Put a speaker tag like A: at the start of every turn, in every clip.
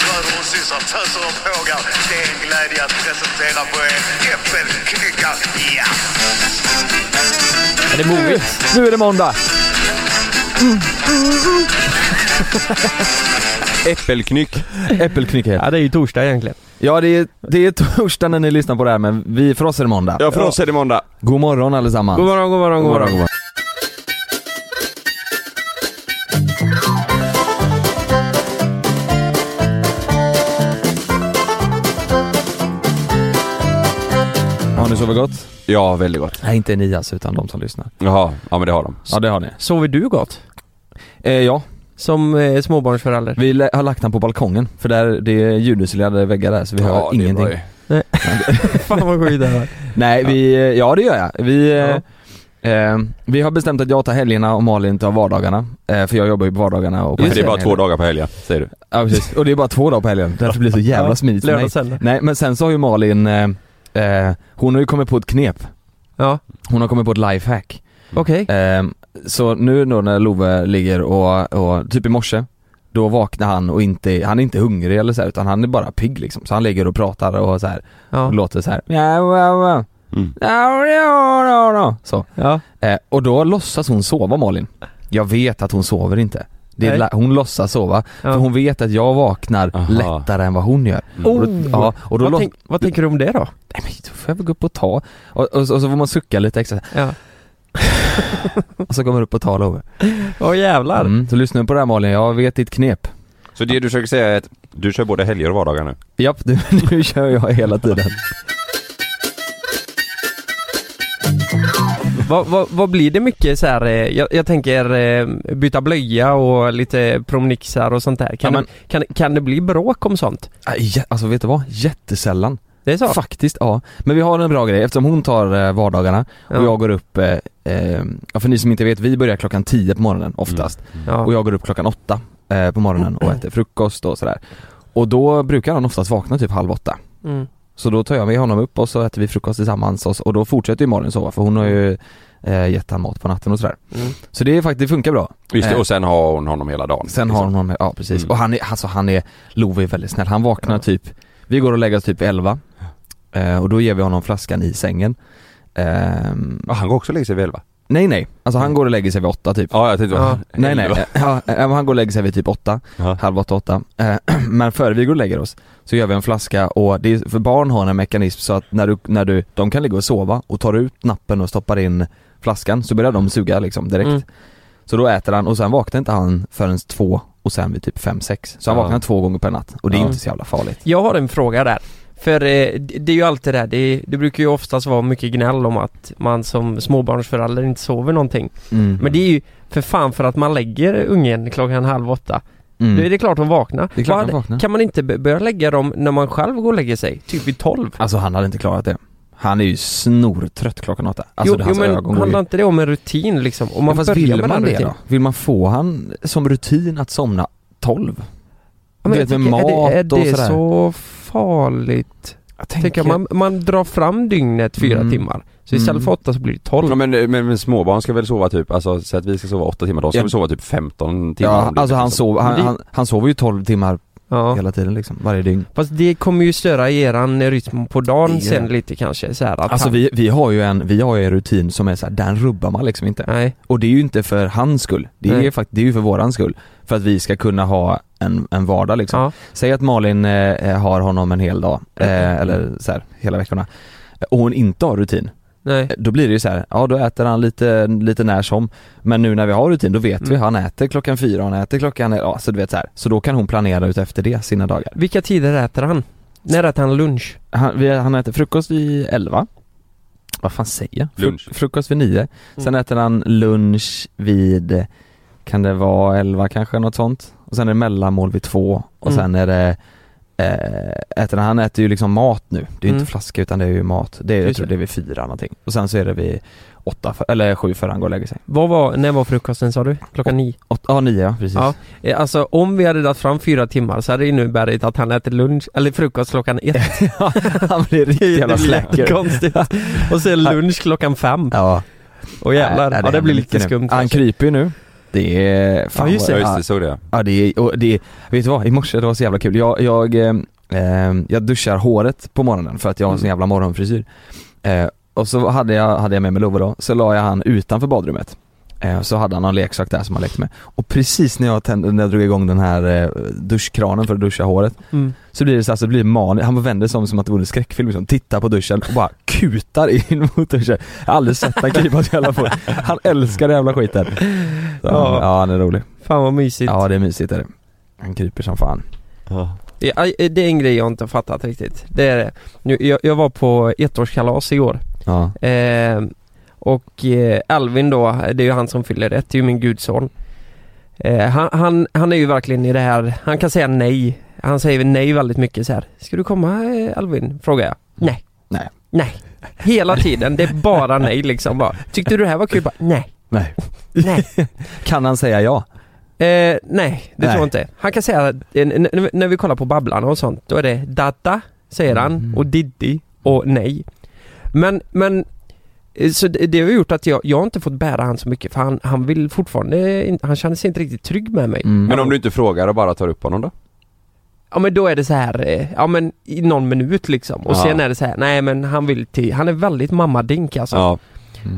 A: småsyssar, töser och pågar. Det är en glädje att presentera för er Äppelknyckar. Ja!
B: Är det modigt?
C: Nu är det måndag.
D: Äppelknyck.
C: Äppelknyckel.
B: Ja, det är ju torsdag egentligen.
C: Ja, det är, det är torsdag när ni lyssnar på det här, men vi, för oss är det måndag.
D: Ja, för oss är det måndag.
C: God morgon allesammans.
B: God morgon, god morgon,
C: God
B: god
C: morgon,
B: morgon.
C: god morgon. Har ni sovit gott?
D: Ja, väldigt gott.
C: Nej, inte ni alltså, utan de som lyssnar.
D: Jaha, ja men det har de.
C: Ja, det har ni.
B: Sover du gott?
C: Eh, ja,
B: Som eh, småbarnsförälder?
C: vi lä- har lagt den på balkongen, för där, det är ljudisolerade väggar där, så vi hör
D: ja, det är
C: ingenting.
D: bra ju.
B: Fan vad skit det här var.
C: Nej, vi, eh, ja det gör jag. Vi, eh,
B: Ja.
C: eh, vi har bestämt att jag tar helgerna och Malin tar vardagarna. Eh, för jag jobbar ju på vardagarna och på
D: För det är bara
C: helgerna.
D: två dagar på helgen, säger du.
C: Ja precis, och det är bara två dagar på helgen. Därför blir det så jävla
B: Ja,
C: smidigt för mig.
B: Lördag söndag.
C: Nej men sen så har ju Malin, eh, eh, hon har ju kommit på ett knep.
B: Ja,
C: Hon har kommit på ett lifehack.
B: okej.
C: Eh, så nu då när Love ligger och, och typ i morse då vaknar han och inte, han är inte hungrig eller så här, utan han är bara pigg liksom. Så han ligger och pratar och så här, och
B: Ja.
C: låter så här. Ja, ja, ja.
D: Mm.
C: Ja, ja, ja, ja. Så.
B: ja.
C: Eh, och då låtsas hon sova Malin. Jag vet att hon sover inte. Det är
B: Nej.
C: la- hon låtsas sova,
B: ja.
C: för hon vet att jag vaknar
D: Aha.
C: lättare än vad hon gör. Och då,
B: Oh!
C: ja, och då
B: vad,
C: låt-
B: tänk, vad tänker du om det då?
C: Nej men då får jag väl gå upp och ta. Och, och, så- och så får man sucka lite extra.
B: Ja.
C: Och så kommer du upp och tar Love.
B: Åh jävlar.
C: Mm, så lyssna på det här Malin, jag vet ditt knep.
D: Så det du försöker säga är att du kör både helger och vardagar nu?
C: Japp, du, nu kör jag hela tiden.
B: Vad, vad, vad blir det mycket så här, eh, jag, jag tänker eh, byta blöja och lite promenixar och sånt där. Kan,
C: Ja, men-
B: det, kan, kan det bli bråk om sånt?
C: Ah, jä- Alltså vet du vad? Jättesällan.
B: Det är så?
C: Faktiskt, ja. Men vi har en bra grej, eftersom hon tar eh, vardagarna och
B: Ja.
C: jag går upp, eh, eh, ja, för ni som inte vet, vi börjar klockan 10 på morgonen oftast.
B: Mm. Ja.
C: Och jag går upp klockan åtta eh, på morgonen och äter frukost och sådär. Och då brukar han oftast vakna typ halv åtta.
B: Mm.
C: Så då tar jag med honom upp och så äter vi frukost tillsammans och, så, och då fortsätter ju Malin sova för hon har ju eh, gett han mat på natten och sådär.
B: Mm.
C: Så det är faktiskt, det funkar bra.
D: Just det,
C: Eh.
D: och sen har hon honom hela dagen.
C: Sen har hon honom, ja precis.
D: Mm.
C: Och han är, alltså han är, Love är väldigt snäll. Han vaknar typ, vi går och lägger oss typ vid elva. Eh, och då ger vi honom flaskan i sängen. Ehm,
D: Ah, han går också och lägger sig vid elva?
C: nej nej, alltså han går och lägger sig vid åtta typ.
D: Ja, jag tänkte
B: Ja.
C: Nej nej, eh, ja, eh, han går och lägger sig vid typ åtta.
D: Ja.
C: halv åtta, åtta. Eh, Men före vi går och lägger oss så gör vi en flaska och det är, för barn har en mekanism så att när du, när du, de kan ligga och sova och tar ut nappen och stoppar in flaskan så börjar de suga liksom direkt.
B: Mm.
C: Så då äter han och sen vaknar inte han förrän två och sen vid typ fem sex Så han
D: Ja.
C: vaknar två gånger per natt och det är
D: Ja.
C: inte så jävla farligt.
B: Jag har en fråga där. För eh, det det är ju alltid det här, det, det brukar ju oftast vara mycket gnäll om att man som småbarnsförälder inte sover någonting. Mm.
C: Mm.
B: Men det är ju för fan för att man lägger ungen klockan halv åtta.
C: Mm.
B: Då är det klart hon vaknar.
C: Det är klart
B: Vad
C: han
B: hade-
C: vaknar.
B: Kan man inte b- börja lägga dem när man själv går och lägger sig? Typ vid tolv?
C: Alltså han hade inte klarat det. Han är ju snortrött klockan åtta. Alltså
B: jo, jo
C: hans ögon
B: men
C: går ju
B: handlar inte det om en rutin liksom? Om man
C: men fast
B: börjar
C: vill man
B: med den
C: det
B: rutinen.
C: då? Vill man få han som rutin att somna 12?
B: Ja,
C: Du
B: men
C: vet,
B: jag
C: med
B: tänker, är det, är
C: mat och
B: det
C: sådär.
B: så farligt?
C: Jag
B: Tänker man, man drar fram dygnet fyra
C: Mm.
B: timmar. Så istället
C: Mm.
B: för åtta så blir det tolv.
D: Ja, men, men, men småbarn ska väl sova typ, alltså så att vi ska sova åtta timmar, de ska
C: Ja.
D: väl sova typ 15 timmar
C: Ja,
D: om dygnet,
C: alltså han,
D: liksom.
C: sov, han,
B: Men det-
C: han, han sover ju 12 timmar
B: Ja.
C: hela tiden liksom, varje dygn.
B: Fast det kommer ju störa eran rytm på dagen
C: Det gör
B: sen
C: det.
B: lite kanske så här att
C: Alltså
B: han-
C: vi, vi har ju en, vi har ju en rutin som är så här, den rubbar man liksom inte.
B: Nej,
C: Och det är ju inte för hans skull, det är,
B: Nej.
C: ju fakt- det är ju för våran skull. För att vi ska kunna ha en, en vardag liksom.
B: ja.
C: Säg att Malin eh, har honom en hel dag, eh, eller så här, hela veckorna. Och hon inte har rutin.
B: Nej.
C: då blir det ju så här, ja då äter han lite, lite när som Men nu när vi har rutin då vet vi, han äter klockan fyra, han äter klockan, ja så du vet så här. Så då kan hon planera ut efter det sina dagar
B: Vilka tider äter han? När äter han lunch?
C: Han, vi, han äter frukost vid elva Vad fan säger jag? Fru-
D: Lunch.
C: frukost vid
B: Mm.
C: nio Sen äter han lunch vid, kan det vara elva kanske, något sånt? Och sen är det mellanmål vid två och
B: Mm.
C: sen är det eh, Äter, han- han äter ju liksom mat nu, det är ju
B: Mm.
C: inte flaska utan det är ju mat. Det är, jag
B: Just
C: tror
B: det.
C: det är vid fyra någonting. Och sen så är det vid åtta, för, eller sju före han går och lägger sig.
B: Vad var, när var frukosten sa du? Klockan nio?
C: Åt, ja, nio ja, precis.
B: Ja. Eh, Alltså om vi hade dragit fram fyra timmar så hade det inneburit att han äter lunch, eller frukost klockan ett.
C: han blir riktigt jävla slacker.
B: konstigt. Och sen lunch klockan fem.
C: Ja,
B: Och jävlar, ja, det
C: händer
B: blir
C: mycket
B: lite
C: nu.
B: skumt. alltså.
C: Han
B: kanske.
C: kryper ju nu. Det är...
B: Ja, just
C: vad-
B: det.
D: Ja just det, såg det.
C: Ja det är, och det, vet du vad? I morse det var så jävla kul. Jag, jag, eh, eh, jag duschar håret på morgonen för att jag har en sån jävla morgonfrisyr. Eh, och så hade jag, hade jag med mig Love då, så la jag han utanför badrummet. Eh, så hade han någon leksak där som han lekte med. Och precis när jag, tände, när jag drog igång den här eh, duschkranen för att duscha håret
B: Mm.
C: så blir det så alltså, det blir maniskt, han vänder sig om som att det vore en skräckfilm liksom, tittar på duschen och bara kutar in mot duschen. Jag har aldrig sett han krypa så jävla fort. Han älskar den jävla skiten. Så,
B: Ja.
C: ja. ja han är rolig.
B: Fan vad mysigt.
C: Ja det är mysigt är det. Han kryper som fan.
D: Ja.
B: Ja, eh, Det är en grej jag inte har fattat riktigt. Det är det. Nu, jag, jag var på ettårskalas igår.
C: Ja.
B: Eh, och eh, Alvin då, det är ju han som fyller ett, det är ju min gudson. Eh, han, han, han är ju verkligen i det här, han kan säga nej. Han säger nej väldigt mycket så här. Ska du komma eh, Alvin? Frågar jag. Nej.
C: Nej.
B: Nej. Hela tiden, det är bara nej liksom bara. Tyckte du det här var kul? Bara, nej.
C: Nej.
B: Nej.
C: Kan han säga ja?
B: Eh, nej, det
C: Nej.
B: tror jag inte. Han kan säga, eh, n- n- när vi kollar på Babblarna och sånt, då är det Dada, säger han,
C: Mm.
B: och Diddy och nej. Men, men eh, så det det har gjort att jag, jag har inte fått bära han så mycket för han, han vill fortfarande inte- han känner sig inte riktigt trygg med mig.
C: Mm.
D: Men om du inte frågar och bara tar upp honom då?
B: Ja men då är det så här, eh, ja men i någon minut liksom. Och
D: Ja.
B: sen är det så här, nej men han vill till, han är väldigt mammadink alltså.
D: Ja.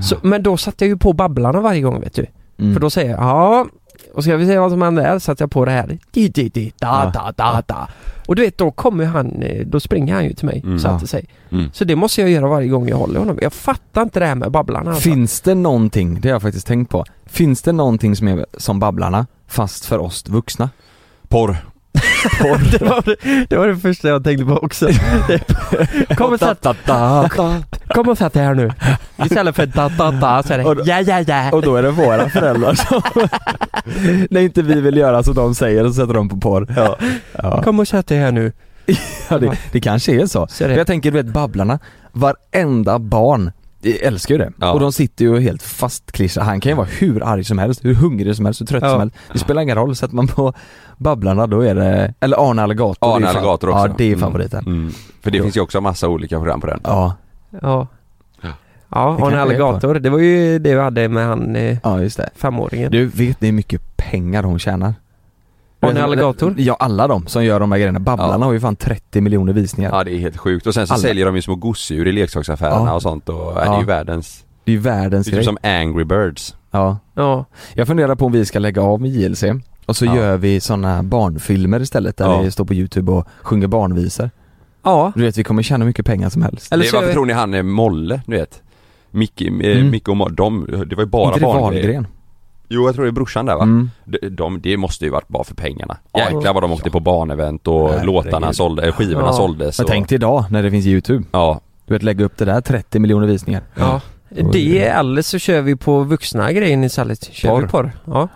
B: Så, men då satte jag ju på Babblarna varje gång vet du.
C: Mm.
B: För då säger jag ja, och ska vi se vad som händer här, satte jag på det här. Di, di, di, da, da, da, da. Och du vet då kommer han, eh, då springer han ju till mig
D: Mm.
B: så att sig.
D: Mm.
B: Så det måste jag göra varje gång jag håller honom. Jag fattar inte det här med Babblarna alltså.
C: Finns det någonting, det har jag faktiskt tänkt på, finns det någonting som är som Babblarna fast för oss vuxna?
D: Porr.
B: det, var det, det var det första jag tänkte på också. Det- kom, och sätt, kom och sätt dig här nu. Istället för da, da, da så är
C: Och
B: det
C: då-
B: ja, ja, ja.
C: Och då är det våra föräldrar som, när inte vi vill göra som de säger så sätter de på porr. Ja. Ja.
B: Kom och sätt dig här nu.
C: det, det kanske är så. För
B: Så är
D: Eh.
B: det.
C: jag tänker du vet Babblarna, varenda barn eh, älskar ju det.
D: Ja.
C: Och de sitter ju helt fastklistrade. Han kan ju vara hur arg som helst, hur hungrig som helst, hur trött
B: Ja.
C: som helst. Det spelar ingen roll, sätter man på Babblarna då är det, eller Arne Alligator. det är ju
D: Arne
C: fan-
D: Alligator också.
C: Ja det är favoriten.
D: Mm. För det
C: Jo.
D: finns ju också massa olika program på den.
C: Ja,
B: Ja.
C: Det
B: Ja,
C: kanske
B: Arne
C: är
B: Alligator. Det var ju det vi hade med han eh,
C: ja just det.
B: femåringen.
C: Du vet ni hur mycket pengar hon tjänar? Eh,
B: Arne Alligator?
C: Ja alla de som gör de här grejerna. Babblarna
D: Ja.
C: har ju fan 30 miljoner visningar.
D: Ja det är helt sjukt. Och sen så
C: Alla.
D: säljer de ju små gosedjur i leksaksaffärerna
C: Ja.
D: och sånt och ja. det är
C: Ja.
D: ju världens,
C: Det är ju
D: det
C: världens
D: är typ
C: grej.
D: som Angry Birds.
C: Ja.
B: Ja.
C: Jag funderar på om vi ska lägga av med JLC och så
D: Ja.
C: gör vi såna barnfilmer istället där
D: Ja.
C: vi står på youtube och sjunger barnvisor.
B: Ja.
C: Du vet vi kommer tjäna mycket pengar som helst.
B: Eller
D: det är,
B: så gör
D: varför
B: vi-
D: tror ni han är Molle, du vet? Micke, eh,
C: Mm.
D: Micke och Mo- de, det var ju bara
C: Inte det
D: barngrejer.
C: Wahlgren?
D: Jo jag tror det är brorsan där va?
C: Mm.
D: De, de, det måste ju varit bara för pengarna.
B: Ja.
D: Jäklar vad de åkte på barnevent och
C: Herregud.
D: låtarna sålde, eh, skivorna
B: Ja.
D: såldes.
C: Men
D: Och,
C: tänk dig idag när det finns youtube.
D: Ja,
C: Du vet lägga upp det där 30 miljoner visningar.
B: Ja. Det eller så kör vi på vuxna grejen istället. Kör
D: Porr.
B: vi porr? Ja.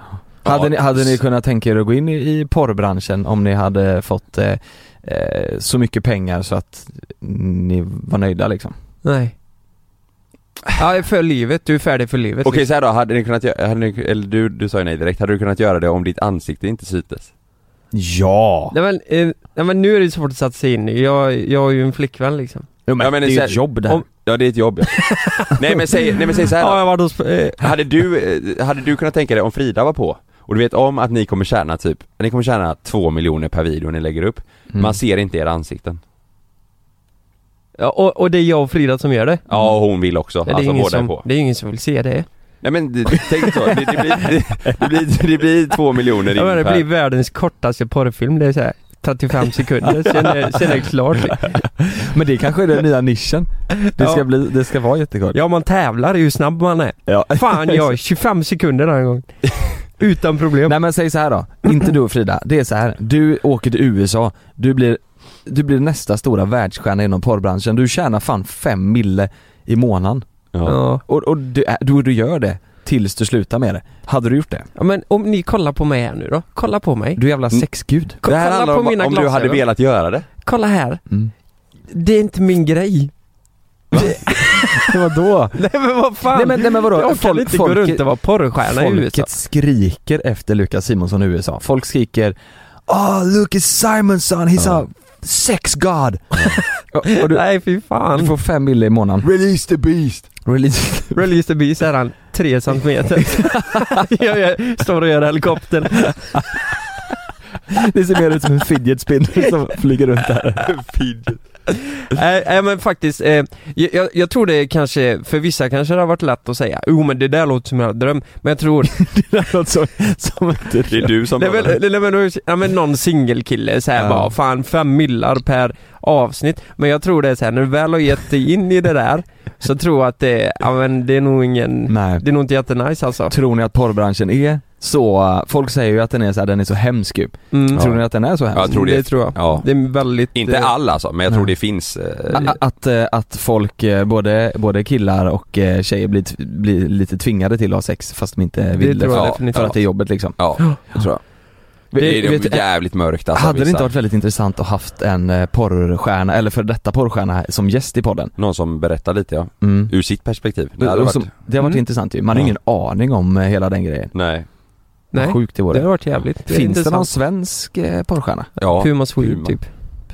C: Hade,
D: Ja.
C: ni, hade ni kunnat tänka er att gå in i, i porrbranschen om ni hade fått eh, eh, så mycket pengar så att ni var nöjda liksom?
B: Nej. Ja, för livet. Du är färdig för livet.
D: Okej så här då, hade ni kunnat göra, hade ni, eller du, du sa ju nej direkt, hade du kunnat göra det om ditt ansikte inte syntes?
C: Ja!
B: Nej men, eh, nej men nu är det svårt att sätta sig in i. jag, jag har ju en flickvän liksom.
C: Jo, men,
D: Ja, men
C: det är
D: så
C: ju
D: här-
C: ett jobb där.
D: Om, ja det är ett jobb ja. nej, men säg, nej men säg så här då.
B: Ja, jag var då sp- eh,
D: Hade du, eh, hade du kunnat tänka dig om Frida var på? Och du vet om att ni kommer tjäna typ, ni kommer tjäna två miljoner per video ni lägger upp.
C: Mm.
D: Man ser inte era
B: Mm.
D: ansikten.
B: ja, och, och det är jag och Frida som gör det.
D: Ja och hon vill också,
B: Det är,
D: alltså
B: ingen
D: båda är
B: som,
D: på.
B: det är ingen som vill se det.
D: Nej men det- tänk så, det, det, blir, det, det, blir, det blir två miljoner
B: Ja, men det
D: ungefär.
B: blir världens kortaste porrfilm. Det är så här 35 sekunder, sen är, sen är det klart.
C: Men det kanske är den nya nischen. Det ska,
B: Ja.
C: bli, det ska vara jättekort.
B: Ja man tävlar i hur snabb man är.
C: Ja.
B: Fan jag är 25 sekunder den här gången. Utan problem.
C: Nej men säg så här då, inte du och Frida. Det är så här. du åker till USA, du blir, du blir nästa stora världsstjärna inom porrbranschen. Du tjänar fan fem mille i månaden.
D: Ja.
B: Ja.
C: Och, och du, är- du, du gör det tills du slutar med det. Hade du gjort det?
B: Ja men om ni kollar på mig här nu då, kolla på mig.
C: Du är jävla
D: Mm.
C: sexgud.
B: Ko-
D: Det här
B: kolla
D: handlar
B: på
D: om,
B: mina
D: om du hade
B: glasögon.
D: velat göra det.
B: Kolla här,
C: Mm.
B: det är inte min grej.
C: Vadå?
B: Nej men vad fan.
C: Nej men, nej, men vadå?
B: jag kan inte gå runt och vara porrstjärna i USA.
C: Folket skriker efter Lucas Simonsson i USA. Folk skriker Ah, Lucas Simonsson, he's
D: Ja.
C: a sex god! och, och du,
B: Nej fy
C: du
B: fan.
C: får fem mille i månaden.
D: Release the beast!
C: Release
B: Release the Beast är han tre centimeter. jag gör, står och gör helikoptern.
C: Det ser mer ut som en fidget spinner som flyger runt där
B: Nej nej, men faktiskt, eh, jag, jag- jag tror det kanske, för vissa kanske det har varit lätt att säga jo men det där låter som en dröm, men jag tror
C: Det låter som, som inte
D: Det är du som
B: Nej men,
D: drömmer.
B: nej, men, då är det- ja, men någon singelkille såhär
C: Ja.
B: bara, fan fem millar per avsnitt. Men jag tror det är såhär, när du väl har gett dig in i det där så tror jag att det, ja men det är nog ingen,
C: Nej
B: det är nog inte jättenice alltså.
C: Tror ni att porrbranschen är så, eh, folk säger ju att den är så här, den är så hemsk ju.
B: Mm.
C: Tror ni att den är så hemsk?
D: Ja, jag tror det.
B: det tror jag.
D: Ja.
B: Det Ah, är väldigt...
D: Inte
B: eh,
D: alla alltså, men jag
C: Nej.
D: tror det finns eh,
C: A- a- Att, eh, att folk, eh, både, både killar och eh, tjejer blir, t- blir lite tvingade till att ha sex fast de inte
B: Det
C: vill
B: tror jag
D: Ja,
B: definitivt.
C: För att det är jobbet liksom
D: Ja, det tror jag. Det är
C: Vet-
D: vet, jävligt mörkt alltså,
C: Hade det
D: vissa.
C: inte varit väldigt intressant att haft en eh, porrstjärna, eller för detta porrstjärna här, som gäst i podden?
D: Någon som berättar lite ja,
C: Mm.
D: ur sitt perspektiv.
C: Det,
D: Det hade
C: och
D: varit...
C: som, det har varit
B: Mm.
C: intressant ju, man har
D: Ja.
C: ingen aning om eh, hela den grejen.
D: Nej.
C: Vad
B: Nej,
C: sjukt det
B: det
C: vore.
B: har varit jävligt
C: Finns det någon svensk eh, porrstjärna?
D: Ja.
B: Puma Swede
D: Puma.
B: typ.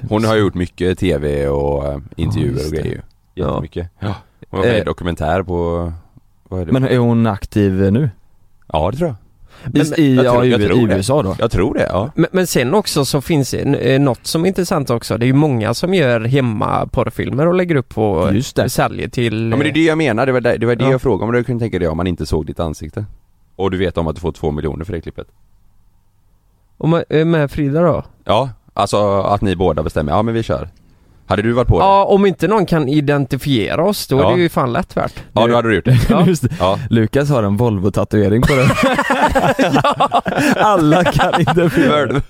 D: Hon har gjort mycket tv och eh, intervjuer
C: Ja, just
D: och
C: det.
D: grejer ju.
B: Ja.
D: Jättemycket. Ja. Hon var med i
C: Eh.
D: dokumentär på, vad är det?
C: Men är hon aktiv eh, nu?
D: ja det tror jag.
C: I,
B: Men-
C: i,
D: jag
C: ja,
D: tror-
C: i,
D: jag tror det.
C: i USA då?
D: Jag tror det, ja.
B: Men, men sen också så finns det eh, något som är intressant också. Det är ju många som gör hemma porrfilmer och lägger upp och
C: Just det.
B: säljer till...
D: Ja men det är det jag menar, det var det, det, var det
B: Ja.
D: jag frågade om du kunde tänka dig om man inte såg ditt ansikte. Och du vet om att du får två miljoner för det klippet.
B: Och med, eh, med Frida då?
D: Ja, alltså att ni båda bestämmer, ja men vi kör. Hade du varit på det?
B: Ja, om inte någon kan identifiera oss då är
D: Ja.
B: det ju fan lätt värt.
D: Ja, då hade du gjort det.
B: Ja.
C: Just det.
D: Ja.
C: Lukas har en Volvo-tatuering på den. Alla kan inte filma.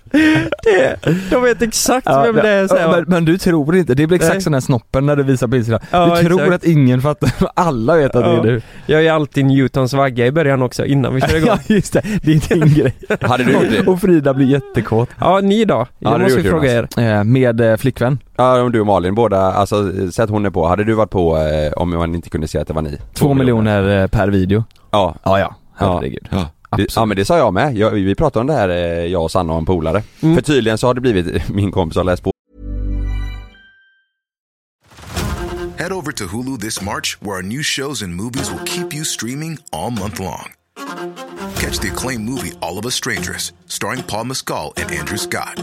B: Det, de vet exakt
C: Ja,
B: vem det är
C: ja, men,
B: säger
C: men du tror inte, det blir
B: Nej.
C: exakt som den här snoppen när du visar bilder.
B: Ja,
C: du tror
B: exakt.
C: att ingen fattar, alla vet att det
B: Ja.
C: är du.
B: Jag är alltid Newtons vagga i början också innan vi kör igång.
C: Ja just det, det är din grej.
D: Hade du gjort det?
C: Och Frida blir jättekåt.
B: Ja, ni då?
D: Ja,
B: Jag
D: det
B: måste
D: gjorde
B: ju fråga er.
C: Eh, Med eh, flickvän.
D: Ja, om du och Malin båda, alltså eh, säg att hon är på, hade du varit på eh, om man inte kunde säga att det var ni?
C: Två miljoner eh, per video.
D: Ja,
C: Ja ja,
D: Ja.
C: herregud.
D: Ja. Det,
C: Absolut.
D: ja men det sa jag med, jag, vi pratade om det här, eh, jag och Sanna och en polare.
B: Mm.
D: För tydligen så har det blivit, min kompis har läst på
E: Head over to Hulu this March, where our new shows and movies will keep you streaming all month long. Catch the acclaimed movie All of Us Strangers, starring Paul Mescal and Andrew Scott.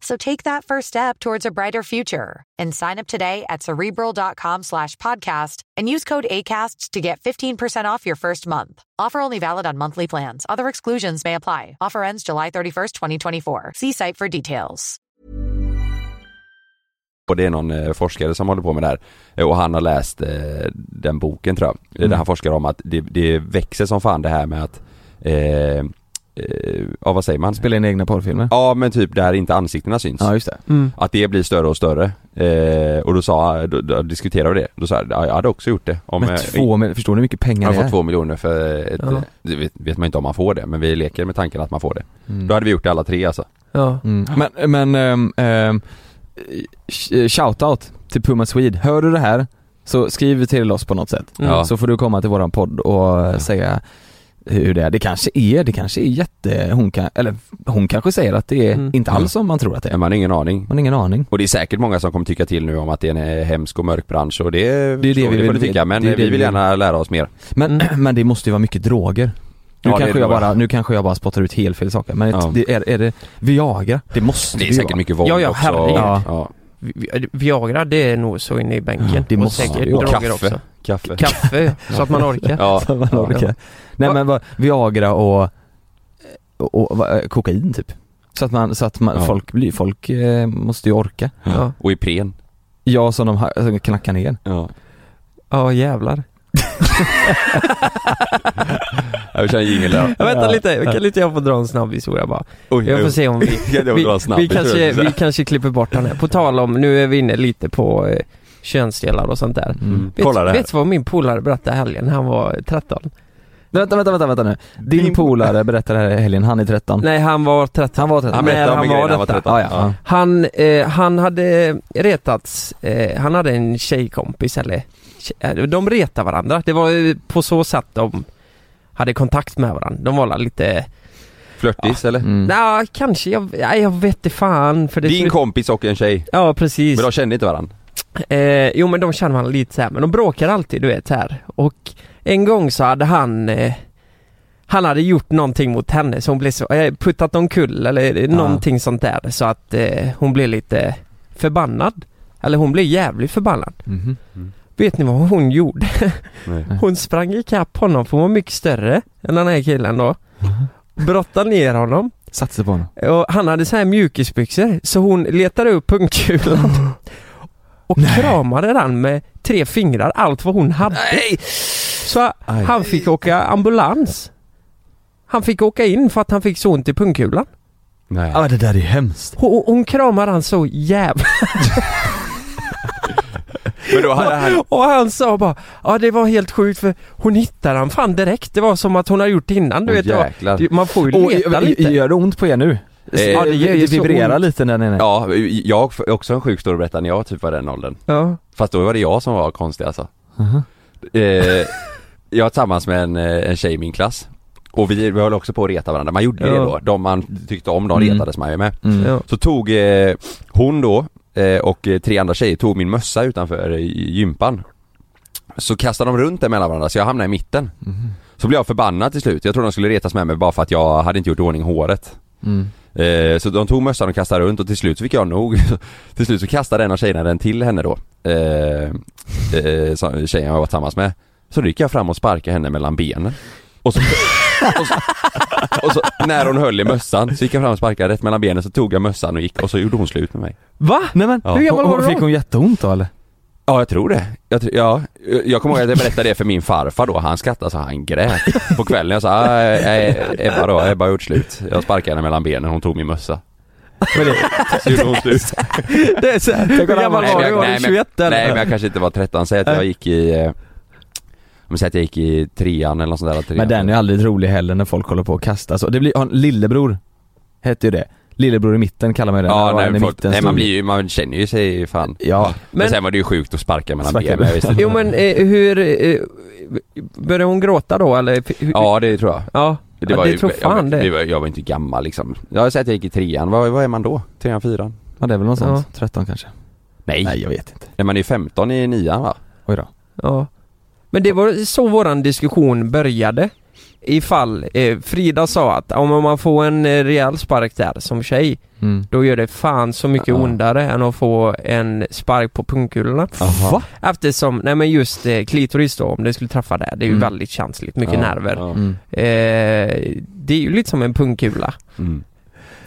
F: So take that first step towards a brighter future and sign up today at cerebral.com slash podcast and use code ACAST to get 15% off your first month. Offer only valid on monthly plans. Other exclusions may apply. Offer ends July 31st, 2024. See site for details.
D: och det är någon eh, forskare som håller på med det här Eh, och han har läst eh, den boken tror jag, Eh, där
C: Mm.
D: han forskar om att det, det växer som fan det här med att, eh, eh, ja vad säger man?
C: Spela in egna porrfilmer.
D: Ja men typ där inte ansiktena syns.
C: Ja just det.
D: Att det blir större och större. Eh, och då sa, då, då diskuterade vi det, då sa jag, ja, jag hade också gjort det. Om,
C: Men
D: eh,
C: två, men förstår ni hur mycket pengar
D: Han
C: det
D: får
C: är?
D: två miljoner för ett,
B: Ja.
D: det vet, vet man inte om man får det, men vi leker med tanken att man får det.
C: Mm.
D: Då hade vi gjort det alla tre alltså.
B: Ja.
C: Mm. Men, men ehm, ehm, sh- eh, shoutout till Puma Swede. Hör du det här så skriv till oss på något sätt.
B: Mm.
D: Ja.
C: Så får du komma till våran podd och eh, säga hur det är. Det kanske är, det kanske är jätte, hon kan, eller hon kanske säger att det är
B: Mm.
C: inte alls som man tror att det är.
D: Men
C: Man
D: man har ingen aning.
C: har ingen aning.
D: Och det är säkert många som kommer tycka till nu om att det är en eh, hemsk och mörk bransch och det, är
C: det vi
D: får
C: vill-
D: ni tycka, men
C: det är det
D: vi
C: vi
D: vill gärna lära oss mer.
C: Men, men det måste ju vara mycket droger. Nu,
D: Mm. Ja, det är
C: kanske
D: det
C: jag
D: bara.
C: bara, nu kanske jag bara spottar ut helt fel saker men
D: Ja.
C: det, är, är det Viagra? Det måste
D: Det är
C: ju
D: säkert
C: vara.
D: mycket våld
B: Ja, ja,
D: också.
B: herregud.
D: Ja.
B: Vi- Viagra det är nog så inne i bänken.
C: Det måste
B: och säkert
C: det vara.
B: droger
D: Kaffe.
B: också.
D: Kaffe.
B: Kaffe, så att man orkar.
D: Ja.
C: Så man orkar. Nej
B: Va-
C: men vad, Viagra och, och, och vad, eh, kokain typ. Så att man, så att man,
D: Ja.
C: folk blir, folk eh, måste ju orka.
B: Ja.
D: Och Ipren.
C: Ja som de ha- som knackar ner.
D: Ja.
B: Ja jävlar.
D: Jag kör en jingel där.
B: Ja, vänta lite, kan inte jag få dra en snabb historia bara?
D: Oj,
B: Jag får
D: oj.
B: se om vi...
D: Kan jag
B: Vi,
D: dra en snabb
B: vi, kanske,
D: historia?
B: vi kanske klipper bort den här. På tal om, nu är vi inne lite på eh, könsdelar och sånt där.
D: Mm.
B: Vet,
D: Kolla det här.
B: vet du vad min polare berättade i helgen när han var 13?
C: Vänta, vänta, vänta, vänta nu. Din
D: Din-
C: polare berättade här i helgen, han är 13.
B: Nej han var 13.
C: Han var 13.
D: Han berättade
B: Nej,
D: om en grej
B: han var
D: när han var
B: detta.
D: 13.
C: Ah, ja. ja.
B: Han, eh, han hade retats, eh, han hade en tjejkompis eller tje- eh, De retade varandra, det var ju på så sätt de hade kontakt med varandra. De var lite,
D: Mm. Flörtis eller?
C: Mm.
B: nja kanske, jag, nej, jag vet inte fan för det
D: Din
B: slut-
D: kompis och en tjej.
B: Ja precis.
D: Men de kände inte varandra.
B: Eh, jo men de känner man lite så här, men de bråkar alltid du vet så här. Och en gång så hade han eh, Han hade gjort någonting mot henne så hon blev så, eh, puttat omkull eller någonting sånt där så att eh, hon blev lite förbannad. Eller hon blev jävligt förbannad.
C: Mhm.
B: Vet ni vad hon gjorde?
D: Nej.
B: Hon sprang ikapp honom för hon var mycket större än den här killen då. Brottade ner honom
C: Satsade på honom.
B: och han hade så här mjukisbyxor så hon letade upp pungkulan och kramade den med tre fingrar, allt vad hon hade. Så
D: Aj.
B: han fick åka ambulans. Han fick åka in för att han fick så ont i pungkulan.
D: Nej.
C: det där är hemskt.
B: Hon, hon kramade han så jävla...
D: Men då hade han...
B: Och han sa bara ja det var helt sjukt för hon hittade han fan direkt. Det var som att hon har gjort det innan. Du
D: Åh,
B: vet, det var-
D: jäklar.
B: det- man får ju
C: Och,
B: leta lite.
C: gör det ont på er nu?
D: Eh, ja,
B: det gör ju
C: det
B: så
C: vibrerar
B: ont.
C: lite när den är...
D: Ja, jag har också en sjuk story att berätta när jag typ var den åldern.
B: Ja.
D: Fast då var det jag som var konstig alltså. Eh, jag var tillsammans med en, eh, en tjej i min klass. Och vi, vi höll också på att reta varandra. Man gjorde det
B: Ja.
D: då. De man tyckte om, de
C: Mm.
D: retades man ju med.
C: Mm.
B: Ja.
D: Så tog eh, hon då eh, och eh, tre andra tjejer tog min mössa utanför eh, gympan. Så kastade de runt den mellan varandra så jag hamnade i mitten. Så blev jag förbannad till slut. Jag trodde de skulle retas med mig bara för att jag hade inte gjort i ordning håret.
C: Mm.
D: Eh, så de tog mössan och kastade runt och till slut så fick jag nog. till slut så kastade en av tjejerna den till henne då. Eh, eh, som- tjejen jag var tillsammans med. Så då gick jag fram och sparkade henne mellan benen. Och så, och så, och så när hon höll i mössan så gick jag fram och sparkade rätt mellan benen så tog jag mössan och gick och så gjorde hon slut med mig.
B: Va?
C: Nej men,
D: Ja.
B: Hur gammal var
C: hon,
B: du
C: fick
B: då?
C: hon jätteont då eller?
D: Ja, jag tror det. Jag, tr- ja, jag kommer ihåg att jag berättade det för min farfar då. Han skrattade så han grät. På kvällen jag sa, "Ah, eh, Ebba då, Ebba har gjort slut. Jag sparkade henne mellan benen, hon tog min mössa. Så gjorde hon slut.
B: Det är så här, hur
C: kolla,
B: gammal
D: Nej,
B: var
D: men
B: du?
D: jag-
B: Var
D: nej,
B: du
D: men-
B: 21 eller?
D: Nej men jag kanske inte var 13, säg att jag gick i... eh, Om säg att jag gick i trean eller något sånt där. Trean.
C: Men den är ju aldrig rolig heller när folk håller på och kastar så. Det blir, har en lillebror hette ju det. Lillebror i mitten kallar man ju den.
D: Ja,
C: Där var
D: nej,
C: den i
D: folk,
C: mitten
D: nej
C: stod-
D: man blir ju, man känner ju sig fan.
C: Ja,
D: Men,
B: Men-
D: sen var det ju sjukt att sparka mellan
C: Sparka
D: benen. jag visste inte.
B: Jo men eh, hur, eh, började hon gråta då eller? Hur,
D: Ja det tror jag.
B: ja, det,
D: var ju-
B: tror fan
D: jag,
B: det.
D: var, jag var inte gammal liksom. Jag säger att jag gick i trean, vad, vad är man då? Trean, fyran?
C: ja det är väl något sånt. 13 kanske.
D: Nej.
C: Nej
D: nej.
C: jag vet inte.
D: man är ju 15 i nian va?
C: Oj då.
B: Ja. Men det var så våran diskussion började. Ifall eh, Frida sa att om man får en eh, rejäl spark där som tjej,
C: Mm.
B: då gör det fan så mycket
C: Ja.
B: ondare än att få en spark på pungkulorna.
C: Va?
B: Eftersom, nej men just eh, klitoris då, om det skulle träffa där, det är ju
C: Mm.
B: väldigt känsligt, mycket
D: Ja,
B: nerver.
D: ja.
C: Mm.
B: Eh, det är ju lite som en pungkula.
D: Mm.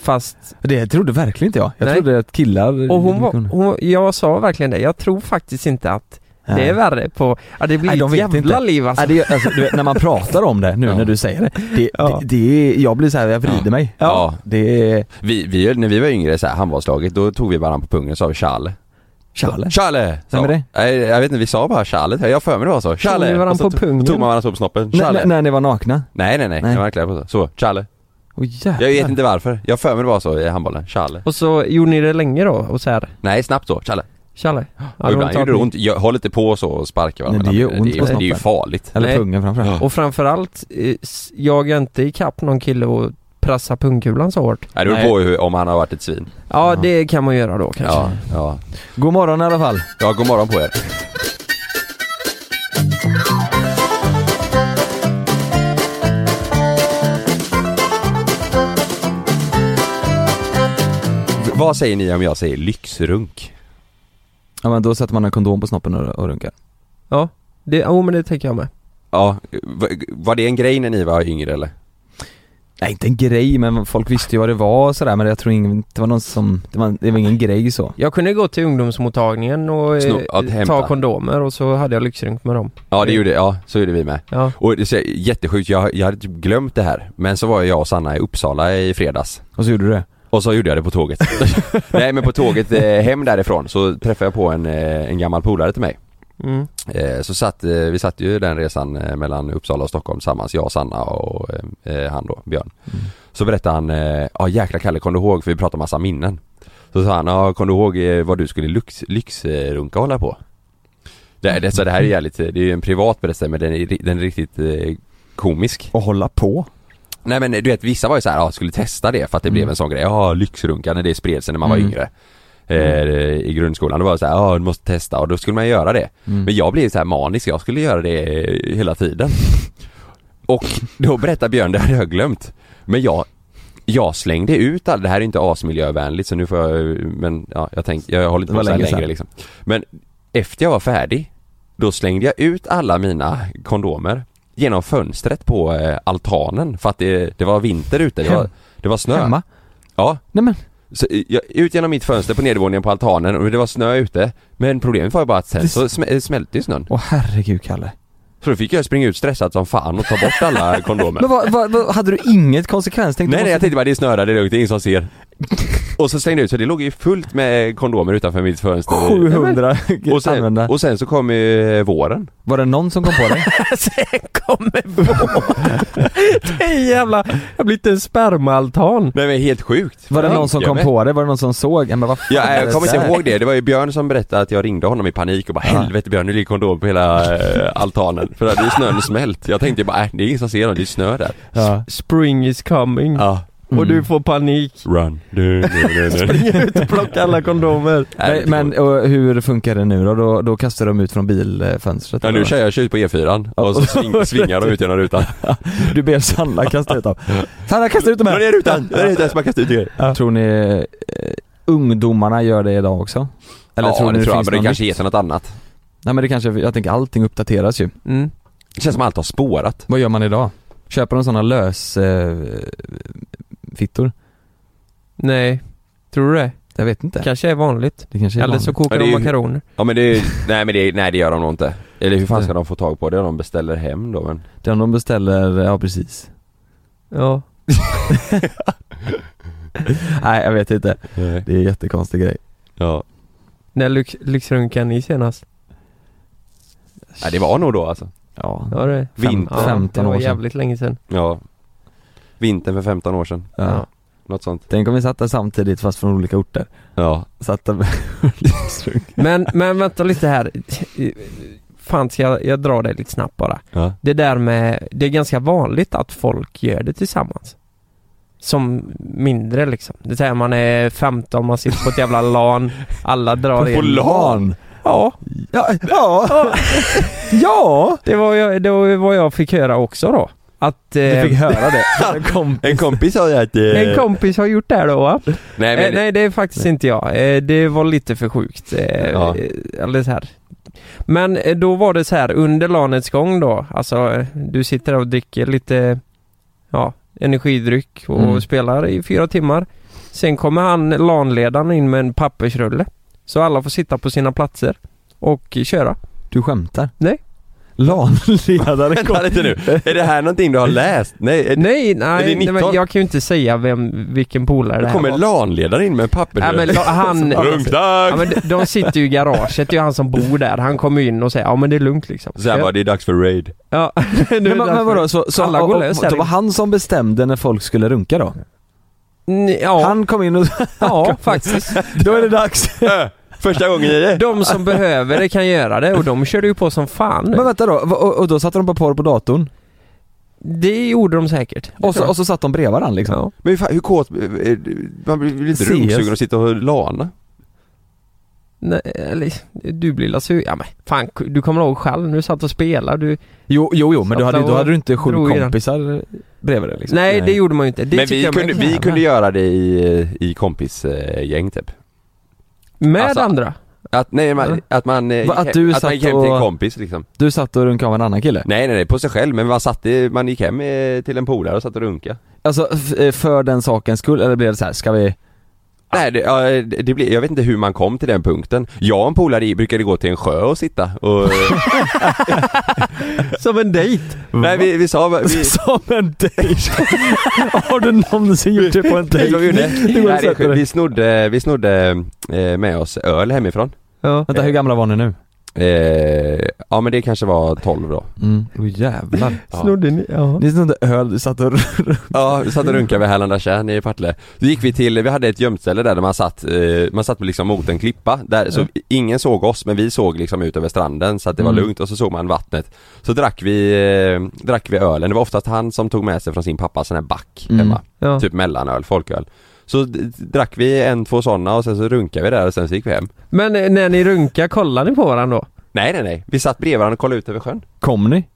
B: Fast
C: Det trodde verkligen inte jag. Jag
B: Nej.
C: trodde att killar... Mm.
B: Och hon var, hon, var- jag sa verkligen det, jag tror faktiskt inte att det är värre på, ja det blir
C: Nej, de
B: ett
C: vet
B: jävla
C: inte.
B: liv alltså.
C: Ja, det, alltså, du vet, när man pratar om det nu
D: Ja.
C: när du säger det, det,
B: Ja.
C: det, det jag blir så här, jag vrider mig.
D: Ja.
C: Det är...
D: Vi, vi, när vi var yngre så här, handbollslaget, då tog vi varandra på pungen och sa Charle.
C: Challe.
D: Challe! sa
C: Vem är det?
D: hon. Nej, jag vet inte, vi sa bara Challe. Jag har för mig det var så. Challe!
B: Tog ni varandra
D: Och så
B: på
D: to-
B: pungen?
D: Tog man varandra så på snoppen.
C: När,
D: Challe!
C: när,
D: Nej
C: när ni var nakna?
D: nej nej,
C: Nej.
D: jag var verkligen på så. Så, Challe.
C: Åh
D: Jag
C: jävlar.
D: vet inte varför. Jag har för mig det var så i handbollen. Challe.
B: Och så gjorde ni det länge då och så här,
D: Nej, snabbt så. Challe.
B: Challe?
D: och ibland gjorde det ont. Jag, håll inte på så och sparka varandra.
C: Nej, det gör ont
D: det,
C: på
D: är- det är ju
C: snoppen.
D: farligt.
C: Eller
B: Nej.
C: pungen framförallt.
B: Och framförallt, eh, s- jaga inte ikapp någon kille och pressa pungkulan så hårt.
D: Nej, det beror
C: Nej.
D: på hur, om han har varit ett svin.
B: Ja, det kan man göra då kanske.
D: Ja, ja.
C: God morgon i alla fall.
D: Ja, god morgon på er. V- Vad säger ni om jag säger lyxrunk?
C: Ja men då sätter man en kondom på snoppen och, och runkar.
B: Ja, det, jo men det tänker jag med
D: Ja, va- var det en grej när ni var yngre eller?
C: Nej inte en grej men folk visste ju vad det var och sådär men jag tror ingen, det var någon som, det var, det var ingen grej så.
B: Jag kunde gå till ungdomsmottagningen och eh,
D: Sno- att hämta.
B: ta kondomer och så hade jag lyxrunk med dem
D: Ja det gjorde, ja så gjorde vi med.
B: Ja,
D: Och det är jättesjukt, jag, jag hade typ glömt det här. Men så var jag och Sanna i Uppsala i fredags.
C: Och så gjorde du det?
D: Och så gjorde jag det på tåget. Nej men på tåget eh, hem därifrån så träffade jag på en, eh, en gammal polare till mig.
B: mm.
D: Eh, Så satt, eh, vi satt ju den resan eh, mellan Uppsala och Stockholm tillsammans, jag, Sanna och eh, eh, han då, Björn.
C: Mm.
D: Så berättade han, eh, ja jäkla Kalle kom du ihåg, för vi pratade massa minnen. Så sa han, ja kom du ihåg eh, vad du skulle lyx, lyxrunka hålla på? Det, det, så det här är jävligt, eh, det är ju en privat berättelse men den är, ri- den är riktigt eh, komisk.
C: Och hålla på?
D: Nej men eh, du vet vissa var ju så här, ja skulle testa det för att det blev
C: Mm.
D: en sån grej, ja lyxrunka när det spred sig när man
C: Mm.
D: var yngre. Eh, I grundskolan, då var det så här, ja du måste testa och då skulle man göra det.
C: Mm.
D: Men jag blev så här manisk, jag skulle göra det eh, hela tiden. Och då berättar Björn, det hade jag glömt. Men jag, jag slängde ut all, det här är inte asmiljövänligt så nu får jag, men ja, jag tänkte, jag, jag håller
C: Det
D: inte på
C: var
D: så här
C: länge
D: längre
C: sedan.
D: liksom. Men efter jag var färdig, då slängde jag ut alla mina kondomer genom fönstret på eh, altanen för att det, det var vinter ute, det var,
C: Hem-
D: det var snö.
C: Hemma?
D: Ja,
C: Nej men,
D: så eh, jag, ut genom mitt fönster på nedervåningen på altanen och det var snö ute. Men problemet var ju bara att sen
C: Det-
D: så smä- eh, smälte ju snön.
C: åh herregud Kalle.
D: Så då fick jag springa ut stressad som fan och ta bort alla kondomer.
C: Men vad, vad, vad, hade du inget konsekvenstänk?
D: nej nej jag tänkte bara det är snö där, det är lugnt, det är ingen som ser. Och så slängde jag ut så det låg ju fullt med eh, kondomer utanför mitt fönster.
C: 700
D: och sen,
C: använda.
D: och sen så kom ju eh, våren.
C: Var det någon som kom på det?
B: Sen kommer våren! Det är jävla... Jag blir inte en spermaaltan
D: Nej men helt sjukt.
C: Var det
D: Fan,
C: någon som
D: jag
C: kom
D: med.
C: på det? Var det någon som såg? Ja, men vad fan
D: Ja,
C: är
D: jag
C: det
D: kommer inte
C: där?
D: ihåg det. Det var ju Björn som berättade att jag ringde honom i panik och bara helvete Björn, nu ligger kondom på hela eh, altanen. För att det är snön smält. Jag tänkte bara, äh, det är ingen som ser dem, det är snö där.
C: Ja.
B: Spring is coming
D: Ja,
B: och du får panik
D: run. Du, du, du, du.
B: Spring ut och plocka alla kondomer
D: Nej,
C: Nej, men och hur funkar det nu då? Då, då kastar de ut från bilfönstret?
D: Ja, nu
C: eller?
D: kör jag tjut på E4 och så sving, svingar de ut genom rutan.
C: Du ber Sanna kasta ut dem. Sanna kasta ut dem
D: Dra
C: här!
D: ner rutan! Dra ner rutan så man kastar ut grejer.
C: Tror ni eh, ungdomarna gör det idag också? Eller
D: ja,
C: tror ni
D: det
C: det
D: tror jag,
C: finns
D: men det
C: någon
D: kanske
C: nytt?
D: heter något annat.
C: Nej men det kanske, jag tänker allting uppdateras ju.
B: mm.
D: Det känns som allt har spårat.
C: Vad gör man idag? Köper de sådana lös... Eh, fittor?
B: Nej Tror du det?
C: Jag vet inte.
B: Kanske är vanligt
C: Det kanske är
B: Eller så
C: vanligt.
B: kokar
D: Ja, det
B: de
D: är ju-
B: makaroner
D: Ja men det, är- nej men det, är- nej det gör de nog inte. Eller hur fan ska de få tag på det? De beställer hem då men.
C: Den de beställer, ja precis.
B: Ja
C: Nej jag vet inte. Det är en jättekonstig grej.
D: Ja.
B: När lyx, lyxrunkade ni senast?
D: Nej, det var nog då alltså.
C: Ja.
B: Ja det är
D: Vinter.
B: ja,
C: 15
B: det var
C: år sedan.
B: jävligt länge sedan
D: Ja. Vintern för 15 år sedan.
C: ja.
D: Något sånt.
C: Tänk om vi satt där samtidigt fast från olika orter.
D: Ja.
C: Satt där
B: Men, men vänta lite här Fan ska jag, jag dra det lite snabbt bara
D: Ja.
B: Det där med, det är ganska vanligt att folk gör det tillsammans Som mindre liksom Det säger man är 15, man sitter på ett jävla LAN Alla drar in
C: LAN!
B: Ja,
C: Ja, ja!
B: ja! Det var, jag, det var ju vad jag fick höra också då Att eh,
C: Du fick höra det. En kompis.
D: En kompis sa ju att... eh,
B: en kompis har gjort det här då va?
D: Nej
B: Nej,
D: men,
B: eh, nej det är faktiskt inte jag. Eh, det var lite för sjukt. Eh,
D: Ja.
B: eh, Eller så här. Men eh, då var det så här under lanets gång då, alltså eh, du sitter där och dricker lite ja, energidryck och
C: Mm.
B: spelar i fyra timmar. Sen kommer han, lanledaren, in med en pappersrulle. Så alla får sitta på sina platser och köra.
C: Du skämtar?
B: Nej.
C: LAN-ledare
D: vänta lite nu. Är det här någonting du har läst? Nej, är-
B: Nej, nej,
D: det
B: nej men
D: 19?
B: jag kan ju inte säga vem, vilken polare det
D: det
B: här
D: kommer
B: var.
D: LAN-ledaren in med en papper
B: Nej, men la- han, Ja,
D: Runkdag!
B: men de- de sitter ju i garaget, det är ju han som bor där. Han kommer ju in och säger ja men det är lugnt liksom.
D: Så här bara, det är dags för raid.
B: Ja, nu är det
C: Men, men,
B: dags för-
C: vadå, så, så
B: Alla går
C: och- och-
B: lös här
C: Det var
B: inne.
C: han som bestämde när folk skulle runka då?
B: N- Ja,
C: Han kom in och
B: ja faktiskt.
C: då är det dags.
D: Äh, Första gången i det.
B: De som behöver det kan göra det och de körde ju på som fan.
C: Men vänta då, va- och, och då satte de på porr på datorn?
B: det gjorde de säkert.
C: Och så, och så satt de bredvid varandra liksom?
B: Ja.
D: Men hur fan, hur kåt, eh, man blir inte
C: Ses.
D: rumsugen att sitta och lana?
B: Nej, eller, du blir la sur. Ja men fan, du kommer ihåg själv när du satt och spelade. Du...
C: Jo, jo, jo men du
B: Satt
C: hade,
B: och
C: då hade du inte
B: drog
C: sju
B: i den.
C: kompisar bredvid dig liksom?
B: nej, det gjorde man ju inte. Det
D: Men
B: tycker
D: vi
B: jag man
D: kunde,
B: kan
D: vi
B: göra.
D: kunde göra det i, i eh, kompisgäng typ.
B: Med
D: alltså-
B: andra?
D: Att, nej, man,
C: Eller?
D: att man eh, gick
C: Va,
D: hem,
C: att du
D: att
C: satt
D: man gick hem till en
C: och-
D: kompis liksom
C: Du satt och runkade av en annan kille?
D: Nej nej nej, på sig själv, men man satt i, man gick hem eh, till en polare och satt och runka
C: Alltså f- eh, för den sakens skull, eller blev det så här, ska vi?
D: Nej det, ja, det- det blir, jag vet inte hur man kom till den punkten Jag och en polare i- brukade gå till en sjö och sitta och...
B: Som en dejt!
D: nej vi, vi sa... Vi,
C: Som en dejt! Har du någonsin gjort det på en
D: vet du
C: dejt?
D: vad vi, gjorde?
C: Det går
D: Nej,
C: att
D: det är
C: sätta
D: sjukt.
C: det.
D: vi snodde, vi snodde eh, med oss öl hemifrån
B: Ja.
C: Vänta, hur gamla var ni nu?
D: Eh, ja men det kanske var 12 då.
C: Mm, oh, jävlar.
B: Snodde ni? Ja.
C: Ni snodde öl, du satt och
D: Ja, vi satt och runkade vid Härlanda tjärn i Partille. Då gick vi till, vi hade ett gömställe där man satt, eh, man satt liksom mot en klippa. Där, så Mm. ingen såg oss men vi såg liksom ut över stranden så att det var
C: Mm.
D: lugnt och så såg man vattnet. Så drack vi, eh, drack vi ölen. Det var oftast han som tog med sig från sin pappa sån här back
C: Mm.
D: hemma.
B: Ja.
D: Typ mellanöl, folköl. Så d- drack vi en, två sådana och sen så runkade vi där och sen så gick vi hem.
B: Men eh, när ni runkar, kollar ni på varandra då?
D: Nej nej nej, vi satt bredvid varandra och kollade ut över sjön.
C: Kom ni?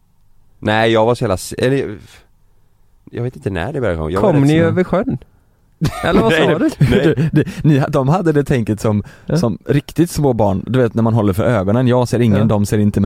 D: Nej jag var så jävla, s- eller, jag vet inte när det började komma. Jag var
B: Kom
D: rätt
B: ni
D: snabb.
B: över sjön? Eller vad sa du?
D: Nej.
C: Du, du, ni, de hade det tänket som,
B: Ja.
C: som riktigt små barn, du vet när man håller för ögonen, jag ser ingen,
B: Ja.
C: de ser inte mig.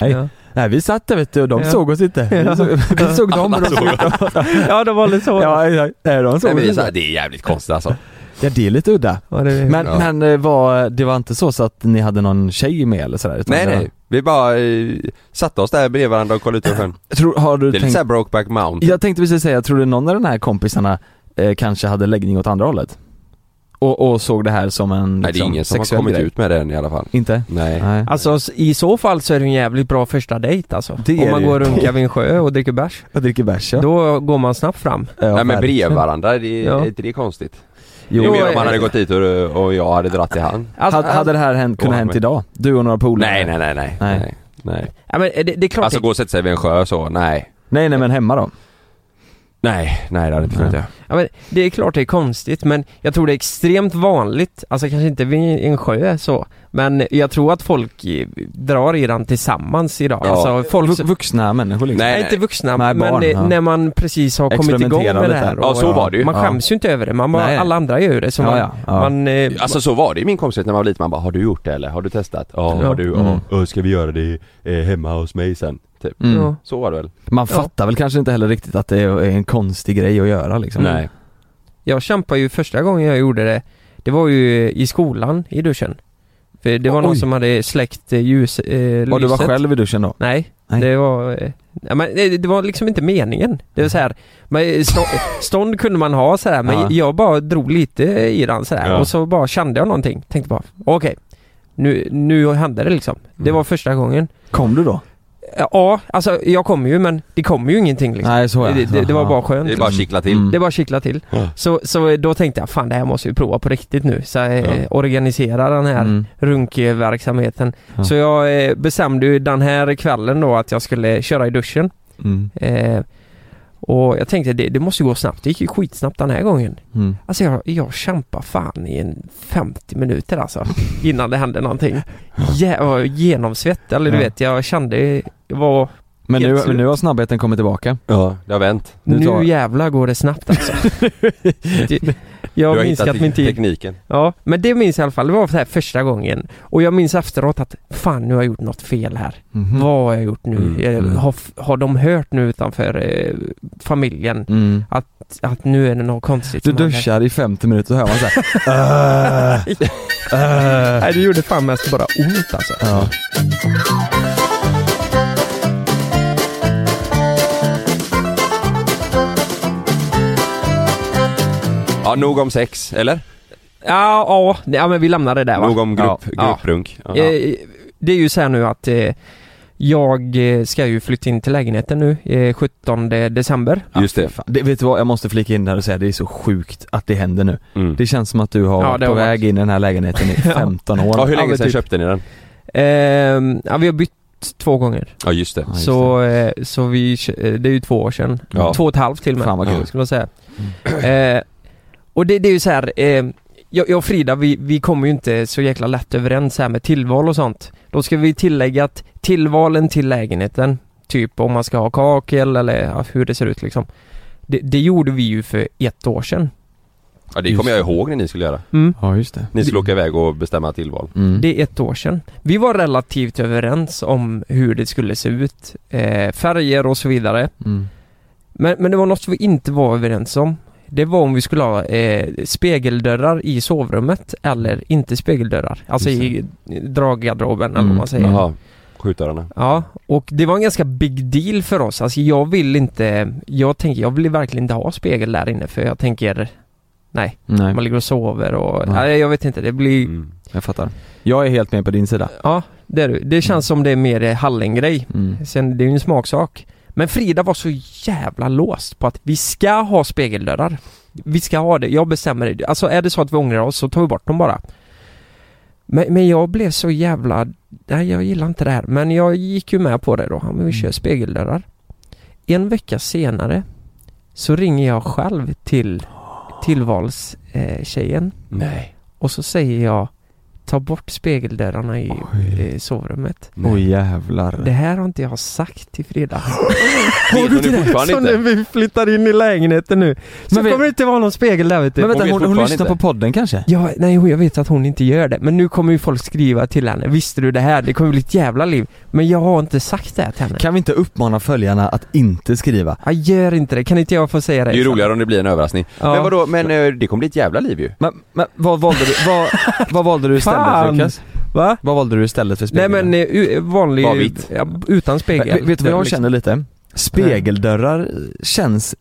C: Nej.
B: Ja.
C: Nej vi satt där vet du och de
B: Ja.
C: såg oss inte.
B: Ja.
C: Vi, såg, vi såg dem och de såg
B: Ja, de håller så.
C: Ja, exakt. Nej, de såg
D: Nej,
C: oss
D: men det, är så
C: inte.
D: här, det är jävligt konstigt alltså.
C: Ja det är lite udda.
B: Ja, det är...
C: Men,
D: Ja.
C: men eh, var, det var inte så, så att ni hade någon tjej med eller sådär? utan
D: Nej
C: det var-
D: nej, vi bara eh, satte oss där bredvid varandra och kollade ut över sjön.
C: Tror, har
D: Det
C: du
D: är lite
C: tänkt,
D: såhär Brokeback Mountain.
C: jag tänkte precis säga, tror du någon av de här kompisarna eh, kanske hade läggning åt andra hållet? Och, och såg det här som en
D: Nej det är
C: liksom,
D: ingen som har
C: sexuell
D: kommit
C: grej?
D: ut med den i alla fall.
C: Inte?
D: Nej.
C: Nej.
B: Alltså s- i så fall så är det en jävligt bra första dejt alltså.
C: Det är
B: Om man
C: det
B: går
C: ju.
B: och runkar vid en sjö och dricker bärs.
C: Jag dricker bärs ja.
B: Då går man snabbt fram.
C: Ja,
D: Nej men
C: verkligen.
D: bredvid varandra, det,
B: Ja.
D: är inte det konstigt?
C: Jo,
D: Jo, mer om
B: eh,
D: man hade gått dit och, och jag hade dratt i hand.
B: Alltså,
C: hade, hade det här hänt, kunnat
D: Ja,
C: hänt
D: men-
C: idag? Du och några polare?
D: Nej nej nej nej.
C: Nej.
D: nej. nej.
B: ja, men eh, det, det är klart
D: Alltså gå och sätta sig vid en sjö så, nej.
C: nej nej men hemma då?
D: Nej, nej det hade inte kunnat
C: Nej.
D: göra.
B: Ja, men det är klart det är konstigt men jag tror det är extremt vanligt, alltså kanske inte vid en sjö så, men jag tror att folk eh, drar i den tillsammans idag.
D: Ja.
B: Alltså folk
C: Vu-
B: som,
C: vuxna människor liksom?
D: Nej.
B: nej, inte vuxna,
C: Nej,
B: men
C: barn,
B: eh,
C: ja.
B: när man precis har kommit igång
C: Experimentera
B: med det
C: lite.
B: här.
D: Ja, så var det ju.
B: Man
C: Ja.
B: skäms ju inte över det, man bara,
C: Nej.
B: alla andra gör det så
C: Ja,
B: man,
C: ja, ja.
B: man eh,
D: Alltså så var det i min kompisgrupp när man var liten, man bara har du gjort det eller? Har du testat? Ja,
B: Ja. Mm.
D: har du? Ja, Ö, ska vi göra det eh, hemma hos mig sen? Typ.
C: Mm.
B: ja.
D: Så var det väl?
C: Man
B: Ja.
C: fattar väl kanske inte heller riktigt att det är en konstig grej att göra liksom?
D: Nej.
B: Jag kämpade ju första gången jag gjorde det Det var ju i skolan i duschen För det var någon
C: Oj.
B: som hade släckt eh, ljus, eh,
C: Och du var
B: lyset.
C: själv i duschen då?
B: Nej,
C: Nej.
B: det var... eh, Ja, men det, det var liksom inte meningen. Det var så här, man, stå, stånd kunde man ha så här, men
C: Ja.
B: jag bara drog lite i den så här,
D: Ja.
B: och så bara kände jag någonting. Tänkte bara, okej, nu, nu hände det liksom. Det
C: Mm.
B: var första gången.
C: Kom du då?
B: Ja, alltså jag kom ju men det kom ju ingenting liksom.
C: Nej så är
B: det, det, det var bara skönt.
D: Det är bara att kittla till.
C: Mm.
B: Det bara kittla till.
D: Ja.
B: Så, så då tänkte jag, fan det här måste vi prova på riktigt nu. Så jag eh,
D: Ja.
B: organisera den här
C: Mm.
B: runkverksamheten.
C: Ja.
B: Så jag eh, bestämde ju den här kvällen då att jag skulle köra i duschen.
C: Mm.
B: Eh, och jag tänkte det, det måste ju gå snabbt. Det gick ju skitsnabbt den här gången.
C: Mm.
B: Alltså jag, jag kämpade fan i en 50 minuter alltså. Innan det hände någonting. Jä- jag var genomsvett, eller du
C: Ja.
B: vet jag kände, jag var,
C: Men nu,
B: Helt slut.
C: men nu har snabbheten kommit tillbaka.
D: Ja, det har vänt.
C: Nu
B: nu
C: tar-
B: jävlar går det snabbt alltså. Det,
D: Du
B: jag har
D: har
B: minskat
D: hittat
B: min tid.
D: tekniken.
B: Ja, men det minns jag i alla fall. Det var så här första gången. Och jag minns efteråt att fan nu har jag gjort något fel här.
C: Mhm.
B: Vad har jag gjort nu?
D: Mm,
B: Eh,
C: mm.
B: Har, f- har de hört nu utanför eh, familjen
C: Mm.
B: att nu är det något konstigt?
C: Du
B: som händer?
C: duschar i 50 minuter så hör man såhär
B: Nej, det gjorde fan mest bara ont alltså.
C: ja.
D: Ja, nog om sex, eller?
B: Ja, ja, nej, ja men vi lämnar det där va?
D: Nog om grupp,
B: Ja.
D: grupprunk. Ja.
B: Eh, Det är ju så här nu att eh, Jag eh, ska ju flytta in till lägenheten nu eh, 17 december.
D: Just det.
C: Fan, det, vet du vad, jag måste flika in där och säga det är så sjukt att det händer nu.
D: Mm.
C: Det känns som att du har
B: Ja,
C: varit
B: det
C: på
B: har varit.
C: väg in i den här lägenheten i
B: Ja.
C: 15 år.
D: Ja, hur länge
B: men
D: sedan
B: typ.
D: köpte ni den?
B: Ehm, ja, vi har bytt två gånger.
D: Ja just det.
C: Ja, just
B: så eh, så vi, kö- eh, det är ju två år sedan.
D: Ja.
B: Två och ett halvt till och med.
C: Fan vad kul.
B: skulle man säga.
C: Mm.
B: Eh, och det, det är ju så här. Eh, jag, jag och Frida vi, vi kommer ju inte så jäkla lätt överens här med tillval och sånt. Då ska vi tillägga att tillvalen till lägenheten, typ om man ska ha kakel eller ja, hur det ser ut liksom. Det, det gjorde vi ju för ett år sedan.
D: Ja det
C: Just
D: kommer jag ihåg när ni skulle göra.
B: Mm.
C: Ja, just det.
D: Ni skulle åka iväg och bestämma tillval.
C: Mm.
B: Det är ett år sedan. Vi var relativt överens om hur det skulle se ut. Eh, färger och så vidare.
C: Mm.
B: Men, men det var något vi inte var överens om. Det var om vi skulle ha eh, spegeldörrar i sovrummet eller inte spegeldörrar. Alltså
C: Just
B: i draggarderoben eller
C: Mm,
B: vad man säger.
D: Jaha. Skjutdörrarna.
B: Ja, och det var en ganska big deal för oss. Alltså jag vill inte, jag tänker, jag vill verkligen inte ha spegel där inne för jag tänker Nej,
C: Nej,
B: man ligger och sover och,
C: Nej.
B: nej jag vet inte, det blir,
D: Mm.
C: jag fattar. Jag är helt med på din sida.
B: ja det är du. Det känns som det är mer eh, hallengrej.
C: Mm.
B: Sen, det är ju en smaksak. Men Frida var så jävla låst på att vi ska ha spegeldörrar. Vi ska ha det, jag bestämmer det. Alltså är det så att vi ångrar oss så tar vi bort dem bara. Men, men jag blev så jävla... Nej jag gillar inte det här. Men jag gick ju med på det då. Ja, Men vi kör spegeldörrar. En vecka senare så ringer jag själv till tillvalstjejen eh, tjejen.
D: Nej.
B: och så säger jag ta bort spegeldörrarna i eh, sovrummet.
C: Åh oh, jävlar.
B: Det här har inte jag sagt till Frida.
D: Har du det?
B: Så
D: Fortfarande
B: när
D: inte?
B: vi flyttar in i lägenheten nu så
C: Men vi-
B: kommer det inte vara någon spegel där vet du.
C: Men
D: Hon
C: vänta,
D: vet
C: hon, hon,
D: fortfarande
C: lyssnar
D: inte.
C: på podden kanske?
B: Ja, nej jag vet att hon inte gör det. Men nu kommer ju folk skriva till henne. Visste du det här? Det kommer bli ett jävla liv. Men jag har inte sagt det här till henne.
C: Kan vi inte uppmana följarna att inte skriva?
B: Jag gör inte det. Kan inte jag få säga
D: Det
B: det?
D: är ju roligare om det blir en överraskning.
B: Ja.
D: Men vadå, men eh, det kommer bli ett jävla liv ju.
C: Men, men vad valde du, vad, vad valde du istället
B: Fan.
C: Lukas?
B: Va?
C: Vad valde du istället för
B: Nej
C: spegeln?
B: men eh, u- vanlig...
D: Bara vitt.
B: Ja, utan spegel.
C: Men, vet du vad jag
B: Liksom.
C: känner lite? Spegeldörrar känns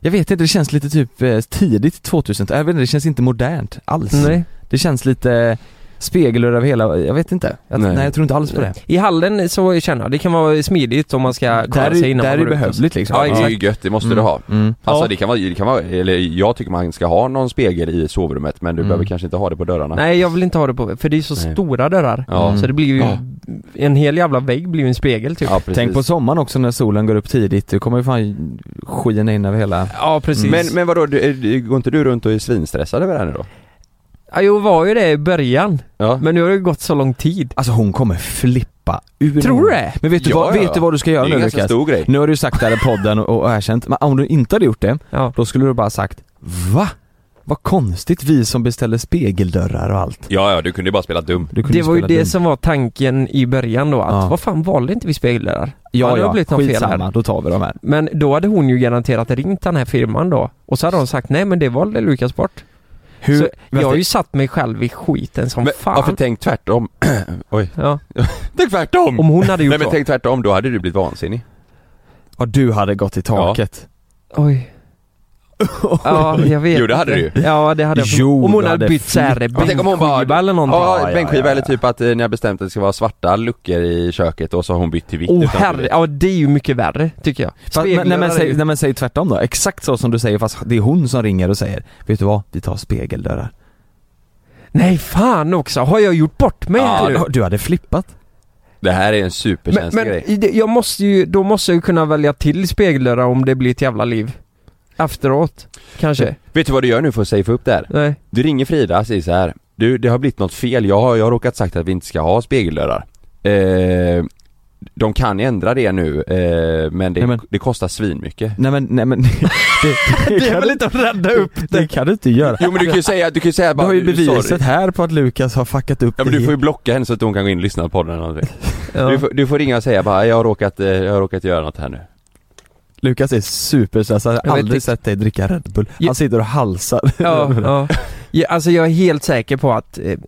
C: jag vet inte, det känns lite typ eh, tidigt 2000 jag vet inte, det känns inte modernt alls.
B: Nej.
C: Det känns lite spegeldörrar över hela, jag vet inte. Jag,
D: Nej.
C: nej. jag tror inte alls på det.
B: I hallen så känner jag, det kan vara smidigt om man ska kolla
C: Där,
B: sig
C: är-
B: innan
C: där är
B: man
C: det
B: går ut och så.
C: behövligt liksom.
B: Ja,
D: Det är
B: exakt.
D: ju gött, det måste du
C: Mm.
D: ha.
C: Mm.
D: Alltså
B: Ja.
D: det, kan vara, det kan vara, eller jag tycker man ska ha någon spegel i sovrummet men du
C: Mm.
D: behöver kanske inte ha det på dörrarna.
B: Nej jag vill inte ha det på för det är så
D: Nej.
B: stora dörrar.
D: Ja.
B: Så det blir ju,
D: Ja.
B: en hel jävla vägg blir ju en spegel typ.
D: Ja, precis.
C: Tänk på sommaren också när solen går upp tidigt, du kommer ju fan skina in över hela...
B: Ja precis.
D: Men, men vadå, du, eh, går inte du runt och är svinstressad över det här nu då?
B: Ja, jo var ju det i början.
D: Ja.
B: Men nu har det gått så lång tid.
C: Alltså hon kommer flippa ur
B: Tror du det?
C: Men vet du,
D: Ja,
C: vad,
D: ja.
C: vet du vad du ska
D: det är
C: göra
D: ju en
C: nu
D: ganska
C: Lukas?
D: stor grej.
C: Nu har du sagt det här i podden och, och erkänt, men om du inte hade gjort det,
B: Ja.
C: då skulle du bara sagt Va? Vad konstigt vi som beställer spegeldörrar och allt.
D: Ja, ja, du kunde ju bara spela dum.
C: Du kunde
B: Det var ju
C: spela
B: det
C: dum.
B: som var tanken i början då att
C: Ja.
B: vad fan valde inte vi spegeldörrar?
C: Ja,
B: Ja, det har
C: ja,
B: blivit något fel
C: skitsamma,
B: här.
C: då tar vi de här.
B: Men då hade hon ju garanterat ringt den här firman då och så hade hon sagt nej men det valde Lukas bort.
C: Hur,
B: så jag har
C: vänta,
B: ju satt mig själv i skiten som
D: Men, ja, för
B: fan.
D: tänk tvärtom. Oj.
B: Ja.
D: Tänk tvärtom!
B: Om hon hade gjort
D: Nej men tänk tvärtom, då hade du blivit vansinnig.
C: ja, du hade gått i taket.
B: så. Oj. Ja, jag vet
D: Jo, det hade
B: inte.
D: du
B: Ja det hade jag.
C: Jo,
B: om hon
C: du
B: hade
C: hade
B: bytt såhär
D: Ja, tänk om hon bara-
B: bänkskiva eller någonting.
D: Ja,
C: ja,
D: bänkskiva
C: ja,
D: eller
C: ja.
D: typ att eh, ni har bestämt att det ska vara svarta luckor i köket och så har hon bytt till vitt.
B: Åh
D: utan att-
B: herre, ja det är ju mycket värre tycker jag.
C: Fast, men, nej, men
B: Speglar är ju-
C: säg, nej men säg tvärtom då, exakt så som du säger fast det är hon som ringer och säger Vet du vad? Vi tar spegeldörrar.
B: Nej fan också, har jag gjort bort mig?
D: Ja,
B: eller?
C: du, du hade flippat.
D: Det här är en
B: men
D: superkänslig
B: men
D: grej.
B: i det- jag måste ju, då måste jag ju kunna välja till spegeldörrar om det blir ett jävla liv. Efteråt, kanske?
D: Vet du vad du gör nu för att safea upp det här?
B: Nej.
D: Du ringer Frida och säger så här. Du, det har blivit något fel. Jag har, jag har råkat sagt att vi inte ska ha spegeldörrar. Eh, de kan ändra det nu, eh, men, det,
C: Nej, men-
D: det kostar svinmycket.
C: Nej men, nej men. Det, det,
B: Det är
C: kan
B: väl
C: du-
B: inte att rädda upp
C: det kan du inte göra.
D: Jo men du kan ju säga, du kan ju säga
C: Du
D: bara,
C: har ju
D: "Du,
C: beviset
D: sorry."
C: här på att Lukas har fuckat upp
D: Ja men
C: det
D: du får ju
C: helt.
D: blocka henne så att hon kan gå in och lyssna på podden eller någonting.
B: Ja.
D: du, får, du får ringa och säga bara, jag har råkat, eh, jag har råkat göra något här nu.
C: Lukas är superstressad, jag
B: Jag
C: har
B: vet
C: aldrig
B: inte.
C: sett dig dricka Red Bull.
B: Ja.
C: Han sitter och halsar.
B: Ja, ja. ja. Alltså jag är helt säker på att eh,